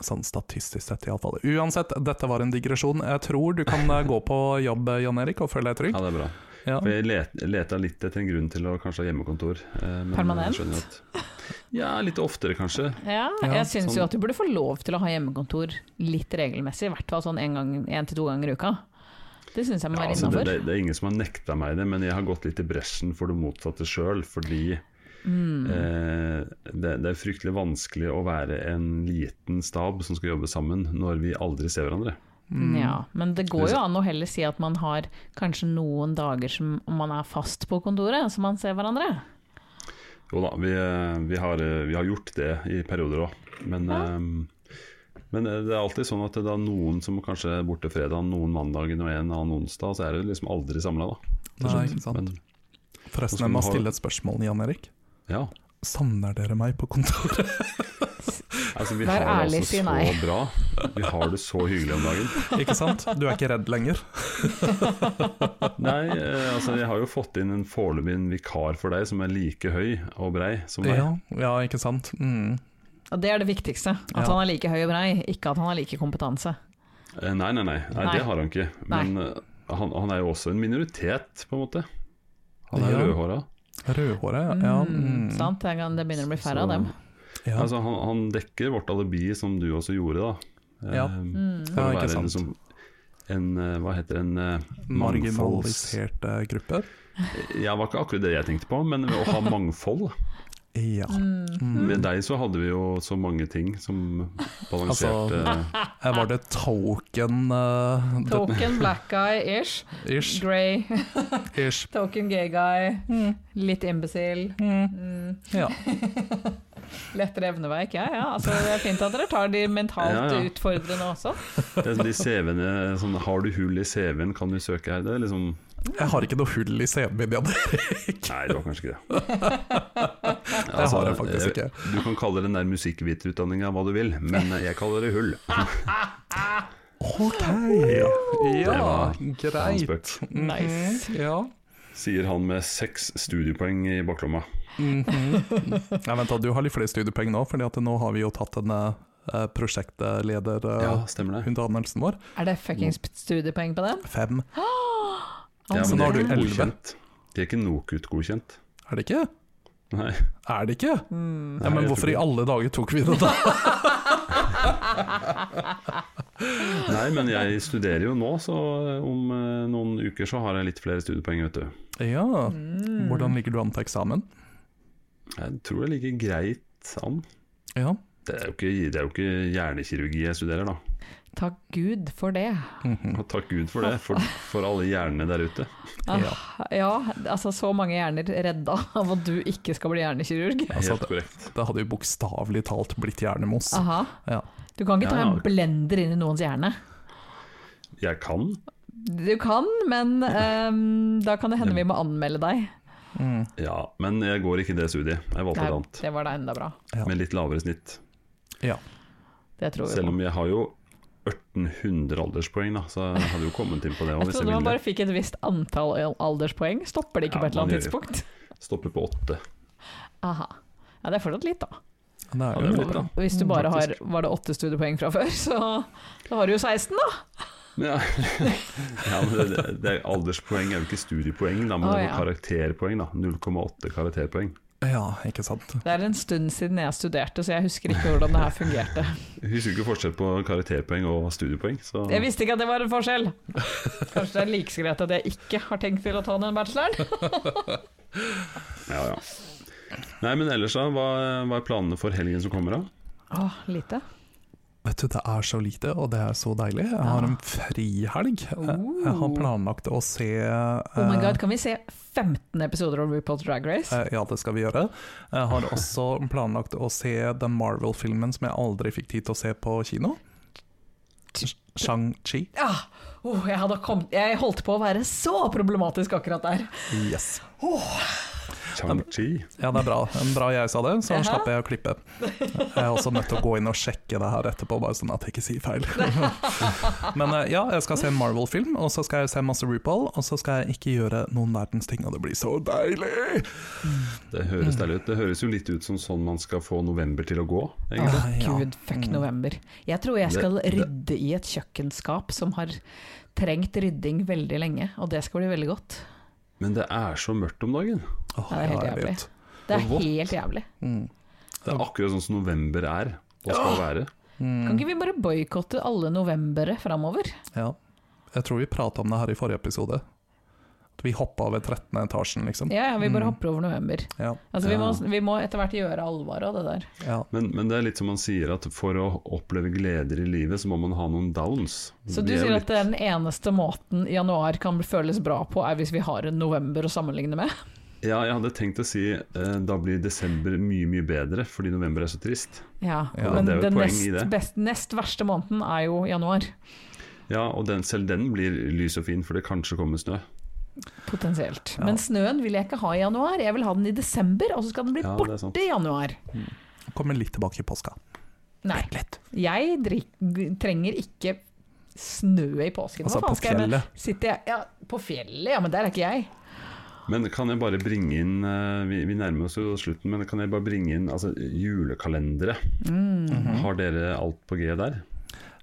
C: Sånn statistisk sett, iallfall. Uansett, dette var en digresjon. Jeg tror du kan eh, gå på jobb, eh, Jan Erik, og føle deg
A: Ja,
C: trygg.
A: det er bra.
C: Ja.
A: For jeg let, leta litt etter en grunn til å kanskje ha hjemmekontor. eh, men
B: Permanent?
A: jeg skjønner At, ja, litt oftere kanskje.
B: Ja,
C: Ja,
B: jeg syns jo
A: sånn-
B: at du burde få lov til å ha hjemmekontor litt regelmessig. I hvert fall sånn én gang- én til to ganger i uka. Det syns jeg må
A: Ja,
B: være
A: altså, det,
B: innafor.
A: det, det er ingen som har nekta meg det, men jeg har gått litt i bresjen for det motsatte sjøl. Fordi
B: Mm.
A: eh, det, det er fryktelig vanskelig å være en liten stab som skal jobbe sammen, når vi aldri ser hverandre.
C: Mm.
B: Ja, men det går jo an å heller si at man har kanskje noen dager som man er fast på kontoret, så man ser hverandre.
A: Jo da, vi, eh, vi, har, vi har gjort det i perioder òg. Men, ehm, men det er alltid sånn at det er noen som kanskje er borte fredag, noen mandagen og en annen onsdag. Så er det liksom aldri samla, da.
C: Nei, ikke sant.
A: Men
C: Forresten,
A: Nå skal
C: jeg må
A: du ha-
C: stille et spørsmål, Jan Erik.
A: ja.
C: Savner dere meg på kontoret?
A: Altså, vi har
B: Vær
A: det
B: ærlig,
A: altså
B: si
A: så
B: nei.
A: bra. Vi har det så hyggelig om dagen.
C: Ikke sant? Du er ikke redd lenger.
A: Nei, eh, altså jeg har jo fått inn en foreløpig en vikar for deg som er like høy og brei som deg.
C: Ja, ja ikke sant. Mm.
B: Og det er det viktigste. At
C: Ja.
B: han er like høy og brei, ikke at han har like kompetanse.
A: Eh, Nei, nei, nei, nei,
B: Nei.
A: det har han ikke. Men eh, han, han er jo også en minoritet, på en måte. Han er
C: Ja.
A: jo rødhåra.
C: Rødhåret, ja. Mm.
B: Sant? Det kan- det begynner å bli færre av
A: Så-
B: dem.
C: Ja,
A: Altså, han, han dekker vårt alibi, som du også gjorde, da. Eh,
C: Ja. Mm.
A: For
C: Ja,
A: å
C: ikke
A: være en,
C: sant.
A: liksom- en eh, Hva heter det, en eh, mangfolds...
C: Marginaliserte grupper.
A: Ja, det var ikke akkurat det jeg tenkte på, men å ha mangfold.
C: Ja. Mm.
A: Med deg så hadde vi jo så mange ting som balanserte
C: Altså- Her Eh, var det token
B: Mm.
C: eh, det-
B: Token black guy-ish.
C: Ish,
B: Grey.
C: ish.
B: Token gay guy. Litt imbecil.
C: Ja.
B: Lettere evneverk. Ja, ja. Altså, det er fint at dere tar de mentalt
A: Ja, ja.
B: utfordrende også.
A: Det er eh, de CV-ene sånn, Har du hull i CV-en, kan du søke her? Det er liksom
C: Jeg har ikke noe hull i CV-en min, Jan.
A: Nei, det var kanskje ikke det. Det
C: har jeg faktisk ikke.
A: Du kan kalle den der musikkviterutdanninga hva du vil, men jeg kaller det hull.
C: Ok,
A: det
C: ja,
A: var en
C: greit.
A: spøk.
B: Mhm. Nice.
C: Ja.
A: Sier han med seks studiepoeng i baklomma.
C: Nei, vent da, du har litt flere studiepoeng nå, Fordi at nå har vi jo tatt denne eh, prosjektleder eh,
A: Ja, stemmer det.
C: utdannelsen vår.
B: Er det fuckings studiepoeng på den?
C: Fem,
A: Ja,
C: Så
A: men
C: nå
A: de
C: har
A: er
C: du
A: ikke
C: elleve.
A: godkjent. De er ikke NOKUT-godkjent.
C: er det ikke?
A: Nei.
C: Er det ikke? Ja,
A: Nei,
C: men
A: jeg tror
C: hvorfor i
A: ikke.
C: alle dager tok vi det da?
A: Nei, men jeg studerer jo nå, så om eh, noen uker så har jeg litt flere studiepoeng, vet du.
C: Ja,
A: Mm.
C: hvordan ligger du an til eksamen?
A: Jeg tror det ligger greit an.
C: Ja,
A: Det er jo ikke, det er jo ikke hjernekirurgi jeg studerer, da.
B: Takk Gud for det.
A: Og takk Gud for det, for, for alle hjernene der ute.
B: Ah,
C: Ja.
B: ja, altså så mange hjerner redda av at du ikke skal bli hjernekirurg.
C: Altså,
A: Helt korrekt.
C: det hadde jo bokstavelig talt blitt hjernemos.
A: Ah.
B: Aha.
C: Ja.
B: Du kan ikke ta
A: Ja, ja.
B: en blender inn i noens hjerne.
A: Jeg kan.
B: Du kan, men ehm, da kan det hende vi må anmelde deg.
C: Mm.
A: Ja, men jeg går ikke det studiet. Jeg valgte et
B: Nei,
A: annet,
B: det var da enda bra.
C: ja.
A: med litt lavere snitt.
C: Ja.
B: Det tror vi
A: Selv
B: på.
A: om jeg har jo 1800 alderspoeng, da, så jeg hadde jo kommet inn på det også,
B: Jeg
A: hvis
B: trodde
A: jeg
B: man
A: ville.
B: bare fikk et visst antall alderspoeng. Stopper det ikke
A: Ja,
B: på et eller
A: man
B: annet
A: gjør
B: tidspunkt?
A: Stoppe på åtte.
B: Aha. Ja, det er fortsatt litt, da.
C: Det
A: Ja,
C: er
A: det er jo
C: jo
A: litt bra.
B: Hvis du bare har
A: faktisk.
B: Var det åtte studiepoeng fra før, så da har du jo 16, da.
A: Ja, ja men det, det, det er alderspoeng er jo ikke studiepoeng, da, men
B: Å,
A: det er
B: ja.
A: karakterpoeng. da 0,8 karakterpoeng.
C: Ja, ikke sant.
B: Det er en stund siden jeg studerte, så jeg husker ikke hvordan det her fungerte.
A: Jeg husker ikke forskjell på karakterpoeng og studiepoeng. Så
B: Jeg visste ikke at det var en forskjell. Kanskje det er like så greit at jeg ikke har tenkt til å ta den bacheloren.
A: Ja, ja. Nei, men ellers da, hva, hva er planene for helgen som kommer da?
B: Åh, lite.
C: Vet du, det er så lite, og det er så deilig. Jeg
A: Ah.
C: har en frihelg. Jeg, jeg har planlagt å se
B: Oh my
C: eh,
B: god, kan vi se 15 episoder av RuPaul's Drag Race?
C: Eh, Ja, det skal vi gjøre. Jeg har også planlagt å se den Marvel-filmen som jeg aldri fikk tid til å se på kino. Sh- Shang-Chi.
B: Ah, oh, jeg, hadde kommet, jeg holdt på å være så problematisk akkurat der.
C: Yes.
A: Chang-Chi?
C: Ja, det er bra. En bra jeg sa det, så
B: Jaha.
C: slapp jeg å klippe. Jeg er også nødt til å gå inn og sjekke det her etterpå, bare sånn at jeg ikke sier feil. Men eh, ja, jeg skal se en Marvel-film, og så skal jeg se masse RuPaul, og så skal jeg ikke gjøre noen verdens ting, og det blir så deilig!
A: Det høres deilig ut. Det høres jo litt ut som sånn man skal få november til å gå. egentlig.
B: Åh,
C: Ja.
B: Gud, fuck november. Jeg tror jeg
A: Det-
B: skal
A: det-
B: rydde i et kjøkkenskap som har trengt rydding veldig lenge, og det skal bli veldig godt.
A: Men det er så mørkt om dagen.
C: Åh,
B: Ja, det er helt
C: ja, jeg
B: jævlig.
C: vet.
B: Det er
A: Og vått.
B: helt jævlig.
A: Det er akkurat sånn som november er og skal være.
B: Kan ikke vi bare boikotte alle novembere framover?
C: Ja. Jeg tror vi prata om det her i forrige episode. At vi hoppa over 13. etasjen, liksom.
B: Ja, ja, vi bare hopper over november.
C: Ja,
B: Altså, vi, må,
A: Ja.
B: vi må etter hvert gjøre alvor av det der.
C: ja.
A: Men, men det er litt som man sier at for å oppleve gleder i livet, så må man ha noen downs.
B: Så
A: Vi
B: du
A: er jo
B: sier
A: litt-
B: at den eneste måten januar kan føles bra på, er hvis vi har en november å sammenligne med?
A: Ja, jeg hadde tenkt å si eh, da blir desember mye, mye bedre, fordi november er så trist.
B: Ja,
C: Ja,
B: men
A: det er jo et
B: den
A: poeng
B: nest,
A: i det.
B: best, nest verste måneden er jo januar,
A: Ja, og den, selv den blir lys og fin, for det kanskje kommer snø.
B: potensielt. Men snøen vil jeg ikke ha i januar, jeg vil ha den i desember, og så skal den bli
A: Ja, det er sant.
B: borte i januar.
C: Kommer litt tilbake i påska.
B: Nei.
C: Vent litt.
B: Jeg drik- trenger ikke snø i påsken.
C: Altså,
B: Hva faen
C: på
B: skal jeg med-
C: fjellet.
B: Sitter jeg ja, på fjellet? Ja, men der er ikke jeg.
A: Men kan jeg bare bringe inn eh, Vi, vi nærmer oss jo slutten, men kan jeg bare bringe inn altså, julekalendere?
C: Mhm.
A: Har dere alt på G der?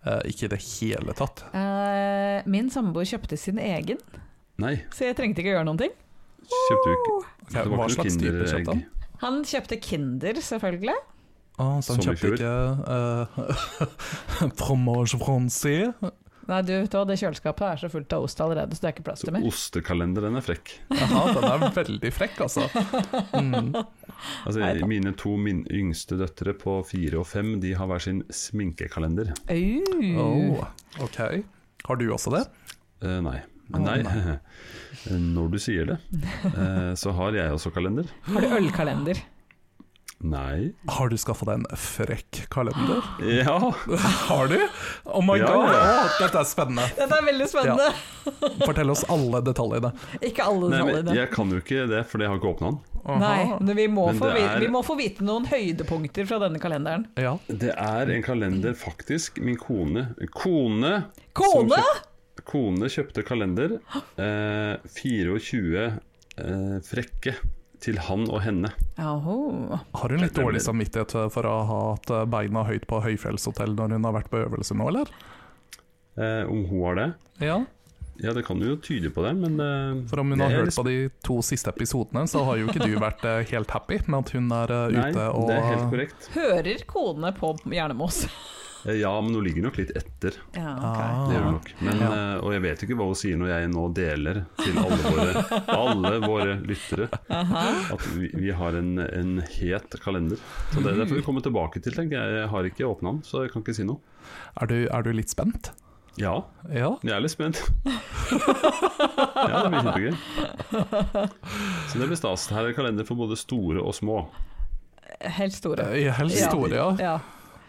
C: Eh, ikke i det hele tatt.
B: Eh, min samboer kjøpte sin egen,
A: Nei,
B: så jeg trengte ikke å gjøre noen ting.
A: kjøpte du ikke?
C: Ok,
A: det var
C: hva
A: ikke noe
C: slags type
A: Kinderegg.
C: kjøpte han?
B: Han kjøpte Kinder, selvfølgelig.
C: Å, så han
A: Som i
C: kjøpte ikke uh, fromage français?
B: Nei, du vet hva, det kjøleskapet er så fullt av ost allerede, så det er ikke plass
A: Så
B: til mer.
A: ostekalenderen er frekk.
C: Jaha, den er veldig frekk, altså. Mm.
A: Altså,
B: Nei da.
A: mine to min yngste døtre på fire og fem De har hver sin sminkekalender.
B: Au.
C: Oh, ok. Har du også det?
A: Eh, nei.
C: Å,
A: nei.
C: nei.
A: Når du sier det, eh, så har jeg også kalender.
B: Har du ølkalender?
A: Nei.
C: Har du skaffa deg en frekk kalender?
A: Ja!
C: Har du? Oh my
A: Ja.
C: god, Å, dette er spennende.
B: Dette er veldig spennende!
C: Fortell oss alle detaljene.
B: Ikke alle
A: Nei,
B: tallene.
A: men jeg kan jo ikke det, for jeg har ikke åpna den.
C: Aha.
B: Nei, men vi må,
A: Men
B: få,
A: det
B: vi-
A: er-
B: vi må få vite noen høydepunkter fra denne kalenderen.
C: Ja.
A: Det er en kalender, faktisk. Min kone Kone! som
B: Kone!
A: kjøp- kone kjøpte kalender. Eh, 24 eh, frekke til han og henne.
B: Jaha.
C: Har hun litt dårlig samvittighet for å ha hatt eh, beina høyt på høyfjellshotell når hun har vært på øvelse nå, eller?
A: Eh, om hun har det?
C: Ja.
A: Ja, det kan jo tyde på det, men eh,
C: For om hun
A: det
C: har
A: er
C: hørt
A: liksom-
C: på de to siste episodene, så har jo ikke du vært eh, helt happy med at hun er eh,
A: Nei,
C: ute og
A: det er helt korrekt.
B: Hører kone på Jernemos?
A: Eh, Ja, men hun ligger nok litt etter.
B: Ja,
C: Ah.
A: Det gjør hun nok. Men, eh, og jeg vet ikke hva hun sier når jeg nå deler til alle våre, alle våre lyttere at vi, vi har en, en het kalender. Så Det, det får vi komme tilbake til, tenker jeg. Jeg har ikke åpna den, så jeg kan ikke si noe.
C: Er du, er du litt spent?
A: Ja,
C: Ja.
A: jeg er litt spent. Ja, det blir kjempegøy. Så det blir stas. Her er kalender for både store og små.
B: Helt store.
C: I helst
B: Ja.
C: store, ja.
B: Ja.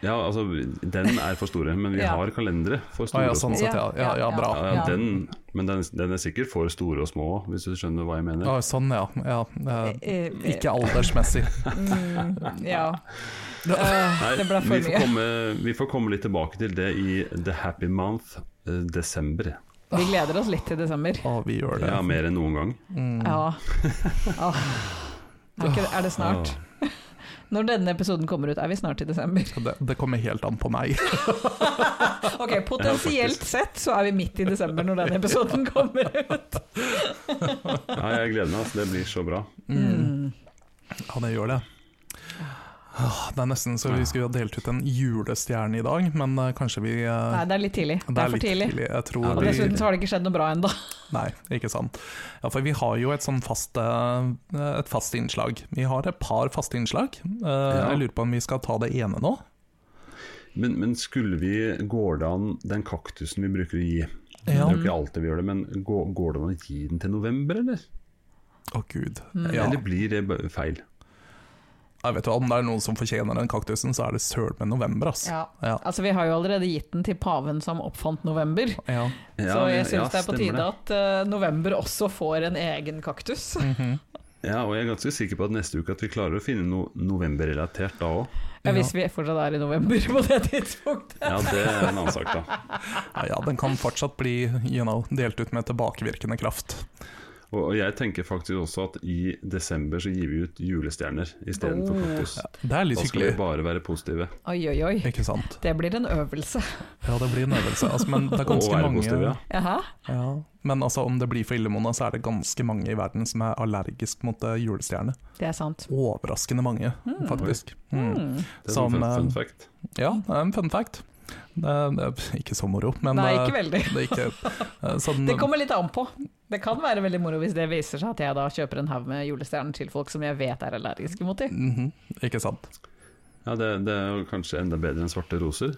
A: Ja, altså, den er for store, men vi
B: Ja.
A: har kalendere for
C: Å
A: store
C: ja,
A: og små.
C: sånn sett, ja. Ja, ja bra.
A: Ja, ja, den, men den, den er sikkert for store og små, hvis du skjønner hva jeg mener.
C: Ja, sånn, ja. ja. eh,
B: Eh, eh,
C: Ikke aldersmessig.
B: Mm, ja. Eh, det ble
A: vi,
B: for
A: får
B: mye.
A: komme, vi får komme litt tilbake til det i The Happy Month, eh, desember.
B: Vi gleder oss litt til desember.
C: Å, vi gjør det.
A: Ja, mer enn noen gang.
B: Ja. Ah. Er, ikke, er det snart? Når denne episoden kommer ut, er vi snart i desember.
C: Det, det kommer helt an på meg.
B: Ok, Potensielt sett så er vi midt i desember når denne episoden kommer ut.
A: Ja, jeg gleder meg, altså. Det blir så bra.
B: Mm.
C: Ja, det gjør det. Åh, Det er nesten så vi skulle ha delt ut en julestjerne i dag, men eh, kanskje vi eh,
B: Nei, det er litt tidlig. Det er for
C: litt
B: tidlig.
C: Jeg tror
A: Ja, det er
B: Og
C: vi,
B: dessuten så har det ikke skjedd noe bra ennå.
C: nei, ikke sant. Ja, for vi har jo et sånn fast, eh, et fast innslag. Vi har et par faste innslag. Eh, Jeg lurer på om vi skal ta det ene nå?
A: Men, men skulle vi Går det an den kaktusen vi bruker å gi? Det
C: Ja.
A: er jo ikke alltid vi gjør det, men går, går det an å gi den til november, eller?
C: Å gud. Ja.
A: Eller blir det b- feil?
C: Jeg vet du, hva, om det er noen som fortjener den kaktusen, så er det søren meg november, ass.
B: Ja.
C: Ja.
B: Altså, vi har jo allerede gitt den til paven som oppfant november.
C: Ja.
B: så
A: Ja,
B: jeg syns
A: ja,
B: det er på
A: stemmer
B: tide at eh, november også får en egen kaktus.
C: Mhm.
A: Ja, og jeg er ganske sikker på at neste uke at vi klarer å finne noe novemberrelatert da òg.
B: Ja, hvis vi fortsatt er i november på det tidspunktet.
A: Ja, det er en annen sak, da.
C: Ja, ja, den kan fortsatt bli you know, delt ut med tilbakevirkende kraft.
A: Og, og jeg tenker faktisk også at i desember så gir vi ut julestjerner istedenfor
B: Oh.
A: for kaktus.
C: Det er litt
A: Da skal vi
C: hyggelig,
A: bare være positive.
B: Oi, oi, oi.
C: ikke sant?
B: Det blir en øvelse.
C: Ja, det blir en øvelse. Altså, men det er
A: Og
C: ganske
A: være
C: mange
A: positive, ja.
B: Jaha.
C: ja. Men altså, om det blir for ille, Mona, så er det ganske mange i verden som er allergisk mot eh, julestjerne.
B: Det er sant.
C: Overraskende mange,
B: Hmm.
C: faktisk. Mm.
B: Mm.
A: Det er sånn
C: Som,
A: fun,
C: eh,
A: fun fact.
C: Ja, det er en fun fact. Det er, det er ikke så moro, men
B: Nei,
C: eh,
B: ikke veldig.
C: Det, er ikke, eh, sånn,
B: Det kommer litt an på. Det kan være veldig moro hvis det viser seg at jeg da kjøper en haug med julestjerner til folk som jeg vet er allergiske mot dem.
C: Mhm, ikke sant.
A: Ja, det, det er jo kanskje enda bedre enn svarte roser,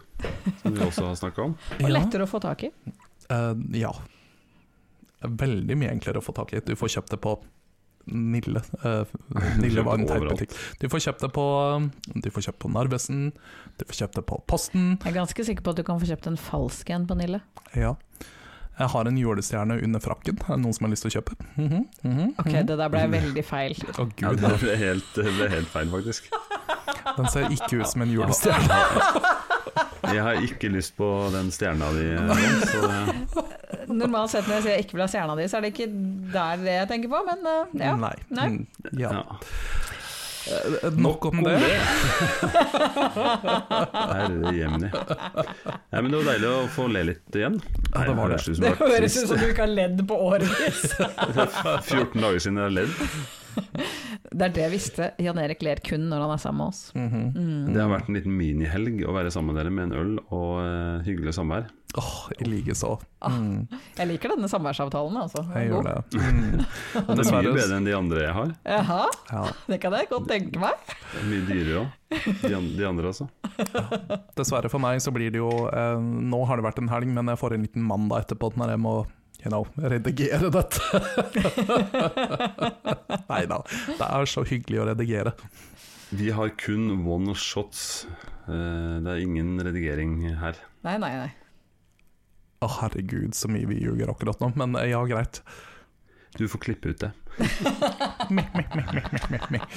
A: som vi også har snakka om.
B: Og
C: Ja.
B: lettere å få tak i.
C: Eh, ja. Veldig mye enklere å få tak i. Du får kjøpt det på Nille. eh, Nille var en
A: Kjøpt
C: teit
A: overalt.
C: butikk. Du får kjøpt det på Du får kjøpt på Narvesen, du får kjøpt det på Posten.
B: Jeg er ganske sikker på at du kan få kjøpt en falsk en, Pernille.
C: Ja. Jeg har en julestjerne under frakken. Er det noen som har lyst til å kjøpe? Mhm, mhm,
B: Ok,
C: mhm.
B: Mm. det der ble veldig feil.
C: Å
A: Ja,
C: gud,
A: det ble helt, det ble helt feil, faktisk.
C: Den ser ikke ut som en julestjerne.
A: Jeg har ikke lyst på den stjerna di, Ron, så det-
B: Normalt sett når jeg sier jeg ikke vil ha stjerna di, så er det ikke der det jeg tenker på, men eh, ja.
C: Nei.
B: Nei.
C: Mm, Ja.
A: ja.
C: Eh, Nok om det.
A: Herre jemni. Nei, men det var deilig å få le litt igjen.
C: Ja, det var det.
A: Nei,
B: Det
A: det var
B: høres
A: trist.
B: ut som du ikke har ledd på årevis.
A: 14 dager siden jeg har ledd.
B: Det er det jeg visste. Jan Erik ler kun når han er sammen med oss.
C: Mhm.
A: Det har vært en liten minihelg å være sammen med dere med en øl og eh, hyggelig samvær.
C: Åh, I like så.
B: Ah.
C: Mm,
B: Jeg liker denne samværsavtalen, altså. Den er
C: jeg
B: god.
C: gjør det. Mm.
A: Det er mye
C: Dessverre-
A: bedre enn de andre jeg har.
B: Jaha,
C: Ja.
B: det kan jeg godt tenke meg.
A: Det er Mye dyrere òg. De, an- de andre, altså.
C: Dessverre for meg så blir det jo eh, Nå har det vært en helg, men jeg får en liten mandag etterpå når jeg må you know, redigere dette. Nei da, det er så hyggelig å redigere.
A: Vi har kun one shots. Eh, Det er ingen redigering her.
B: Nei, nei, nei.
C: Å herregud, så mye vi ljuger akkurat nå, men eh, ja, greit.
A: Du får klippe ut det.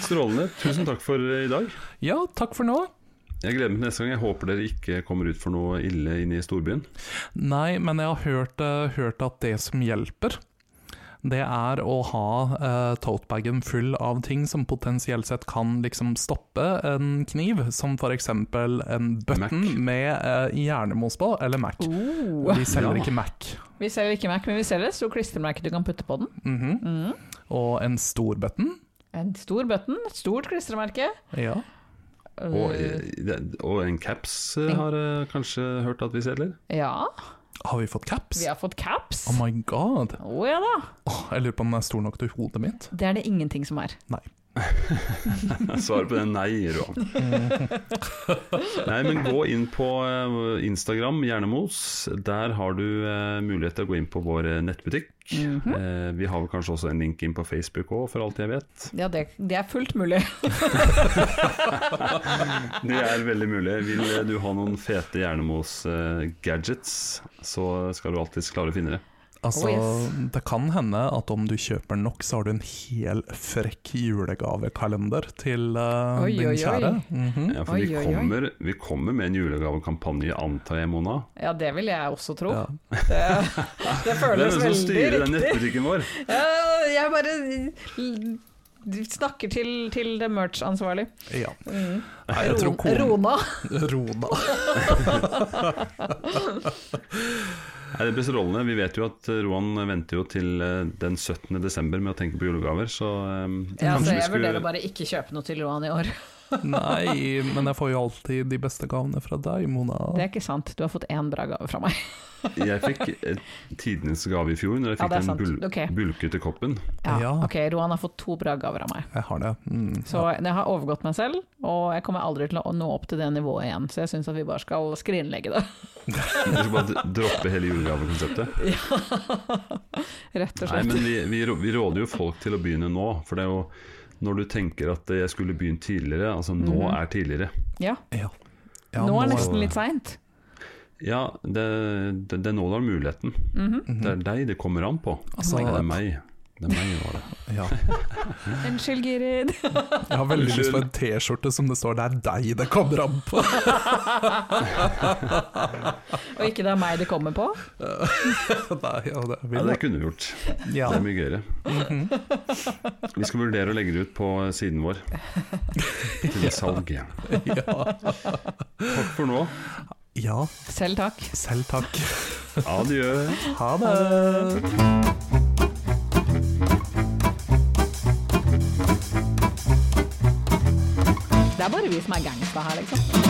A: Strålende. Tusen takk for eh, i dag.
C: Ja, takk for nå.
A: Jeg gleder meg til neste gang. Jeg håper dere ikke kommer ut for noe ille inne i storbyen.
C: Nei, men jeg har hørt, eh, hørt at det som hjelper, det er å ha eh, totebagen full av ting som potensielt sett kan liksom stoppe en kniv, som f.eks. en button
A: Mac.
C: med eh, hjernemos på, eller Mac.
B: Oh.
C: De selger
A: Ja.
C: ikke Mac.
B: Vi selger ikke Mac, men vi selger et stort klistremerke du kan putte på den.
C: Mhm.
B: Mhm.
C: Og en stor button.
B: En stor button, et stort klistremerke.
C: Ja.
A: Og,
B: Eh,
A: eh, det- og en caps eh, har jeg kanskje hørt at vi selger.
B: ja,
C: Har vi fått caps?
B: vi har fått caps.
C: Oh my god.
B: Å ja da.
C: Åh, jeg lurer på om den er stor nok til hodet mitt.
B: Det er det ingenting som er.
A: Svaret på det er nei, Roan. Nei, men gå inn på eh, Instagram, Hjernemos. Der har du eh, mulighet til å gå inn på vår eh, nettbutikk.
B: Mhm.
A: Eh, Vi har vel kanskje også en link inn på Facebook òg, for alt jeg vet.
B: Ja, det, det er fullt mulig.
A: Det er veldig mulig. Vil eh, du ha noen fete Hjernemos-gadgets, så skal du alltids klare å finne det.
C: Altså,
B: Oh, yes.
C: Det kan hende at om du kjøper nok, så har du en hel frekk julegavekalender til eh,
B: Oi,
C: din
B: oi, oi.
C: kjære. Mhm.
A: Ja, for
B: Oi,
A: vi
B: oi, oi.
A: kommer, vi kommer med en julegavekampanje, antar jeg, Mona.
B: Ja, det vil jeg også tro.
C: Ja.
B: Det, det
A: Hvem er
B: føles
A: det som
B: veldig
A: styrer den
B: riktig.
A: nettbutikken vår?
B: Ja, jeg bare l- snakker til, til det merch-ansvarlig.
C: ja.
B: Mm.
C: Nei, jeg
B: Ron-
C: tror kona
B: Rona.
C: Rona.
A: Nei, det blir strålende. Vi vet jo at eh, Roan venter jo til eh, den 17. desember med å tenke på julegaver, så eh, kanskje vi
B: Ja, så jeg
A: skulle-
B: vurderer bare ikke kjøpe noe til Roan i år.
C: Nei, men jeg får jo alltid de beste gavene fra deg, Mona.
B: Det er ikke sant. Du har fått én bra gave fra meg.
A: Jeg fikk eh, tidenes gave i fjor, når jeg
B: Ja,
A: fikk
B: det er
A: den
B: sant.
A: bul
B: Ok.
A: bulkete koppen.
B: Ja,
C: Ja.
B: Ok, Roan har fått to bra gaver av meg.
C: Jeg har det. Mm.
B: Så jeg har overgått meg selv, og jeg kommer aldri til å nå opp til det nivået igjen. Så jeg syns at vi bare skal skrinlegge det,
A: Vi skal bare d- droppe hele julegavekonseptet.
B: rett og
A: Nei,
B: slett.
A: men vi, vi, rå- vi råder jo folk til å begynne nå, for det er jo når du tenker at eh, jeg skulle begynt tidligere, altså nå
B: Mhm.
A: er tidligere.
B: Ja.
C: Ja. Ja,
B: nå er det
C: nå-
B: nesten litt seint.
A: Ja, det, det, det er nå du har muligheten.
B: Mhm.
A: Det er deg det kommer an på.
C: Altså,
A: det er meg. Det er meg, var det.
C: ja.
B: Unnskyld, Girid.
C: Jeg har veldig lyst på en T-skjorte som det står 'det er deg det kommer an på'.
B: Og ikke det er meg det kommer på.
C: Nei, ja, det
A: Ja,
C: vil
A: det
C: jeg.
A: kunne vi gjort.
C: Ja.
A: Det er mye gøyere. Vi skal vurdere å legge det ut på siden vår. Til salg.
C: Ja.
A: Takk for nå.
C: ja,
B: Selv takk.
C: selv takk.
A: Adjø.
C: Ha det.
B: Det er bare vi som er gangsta her, liksom.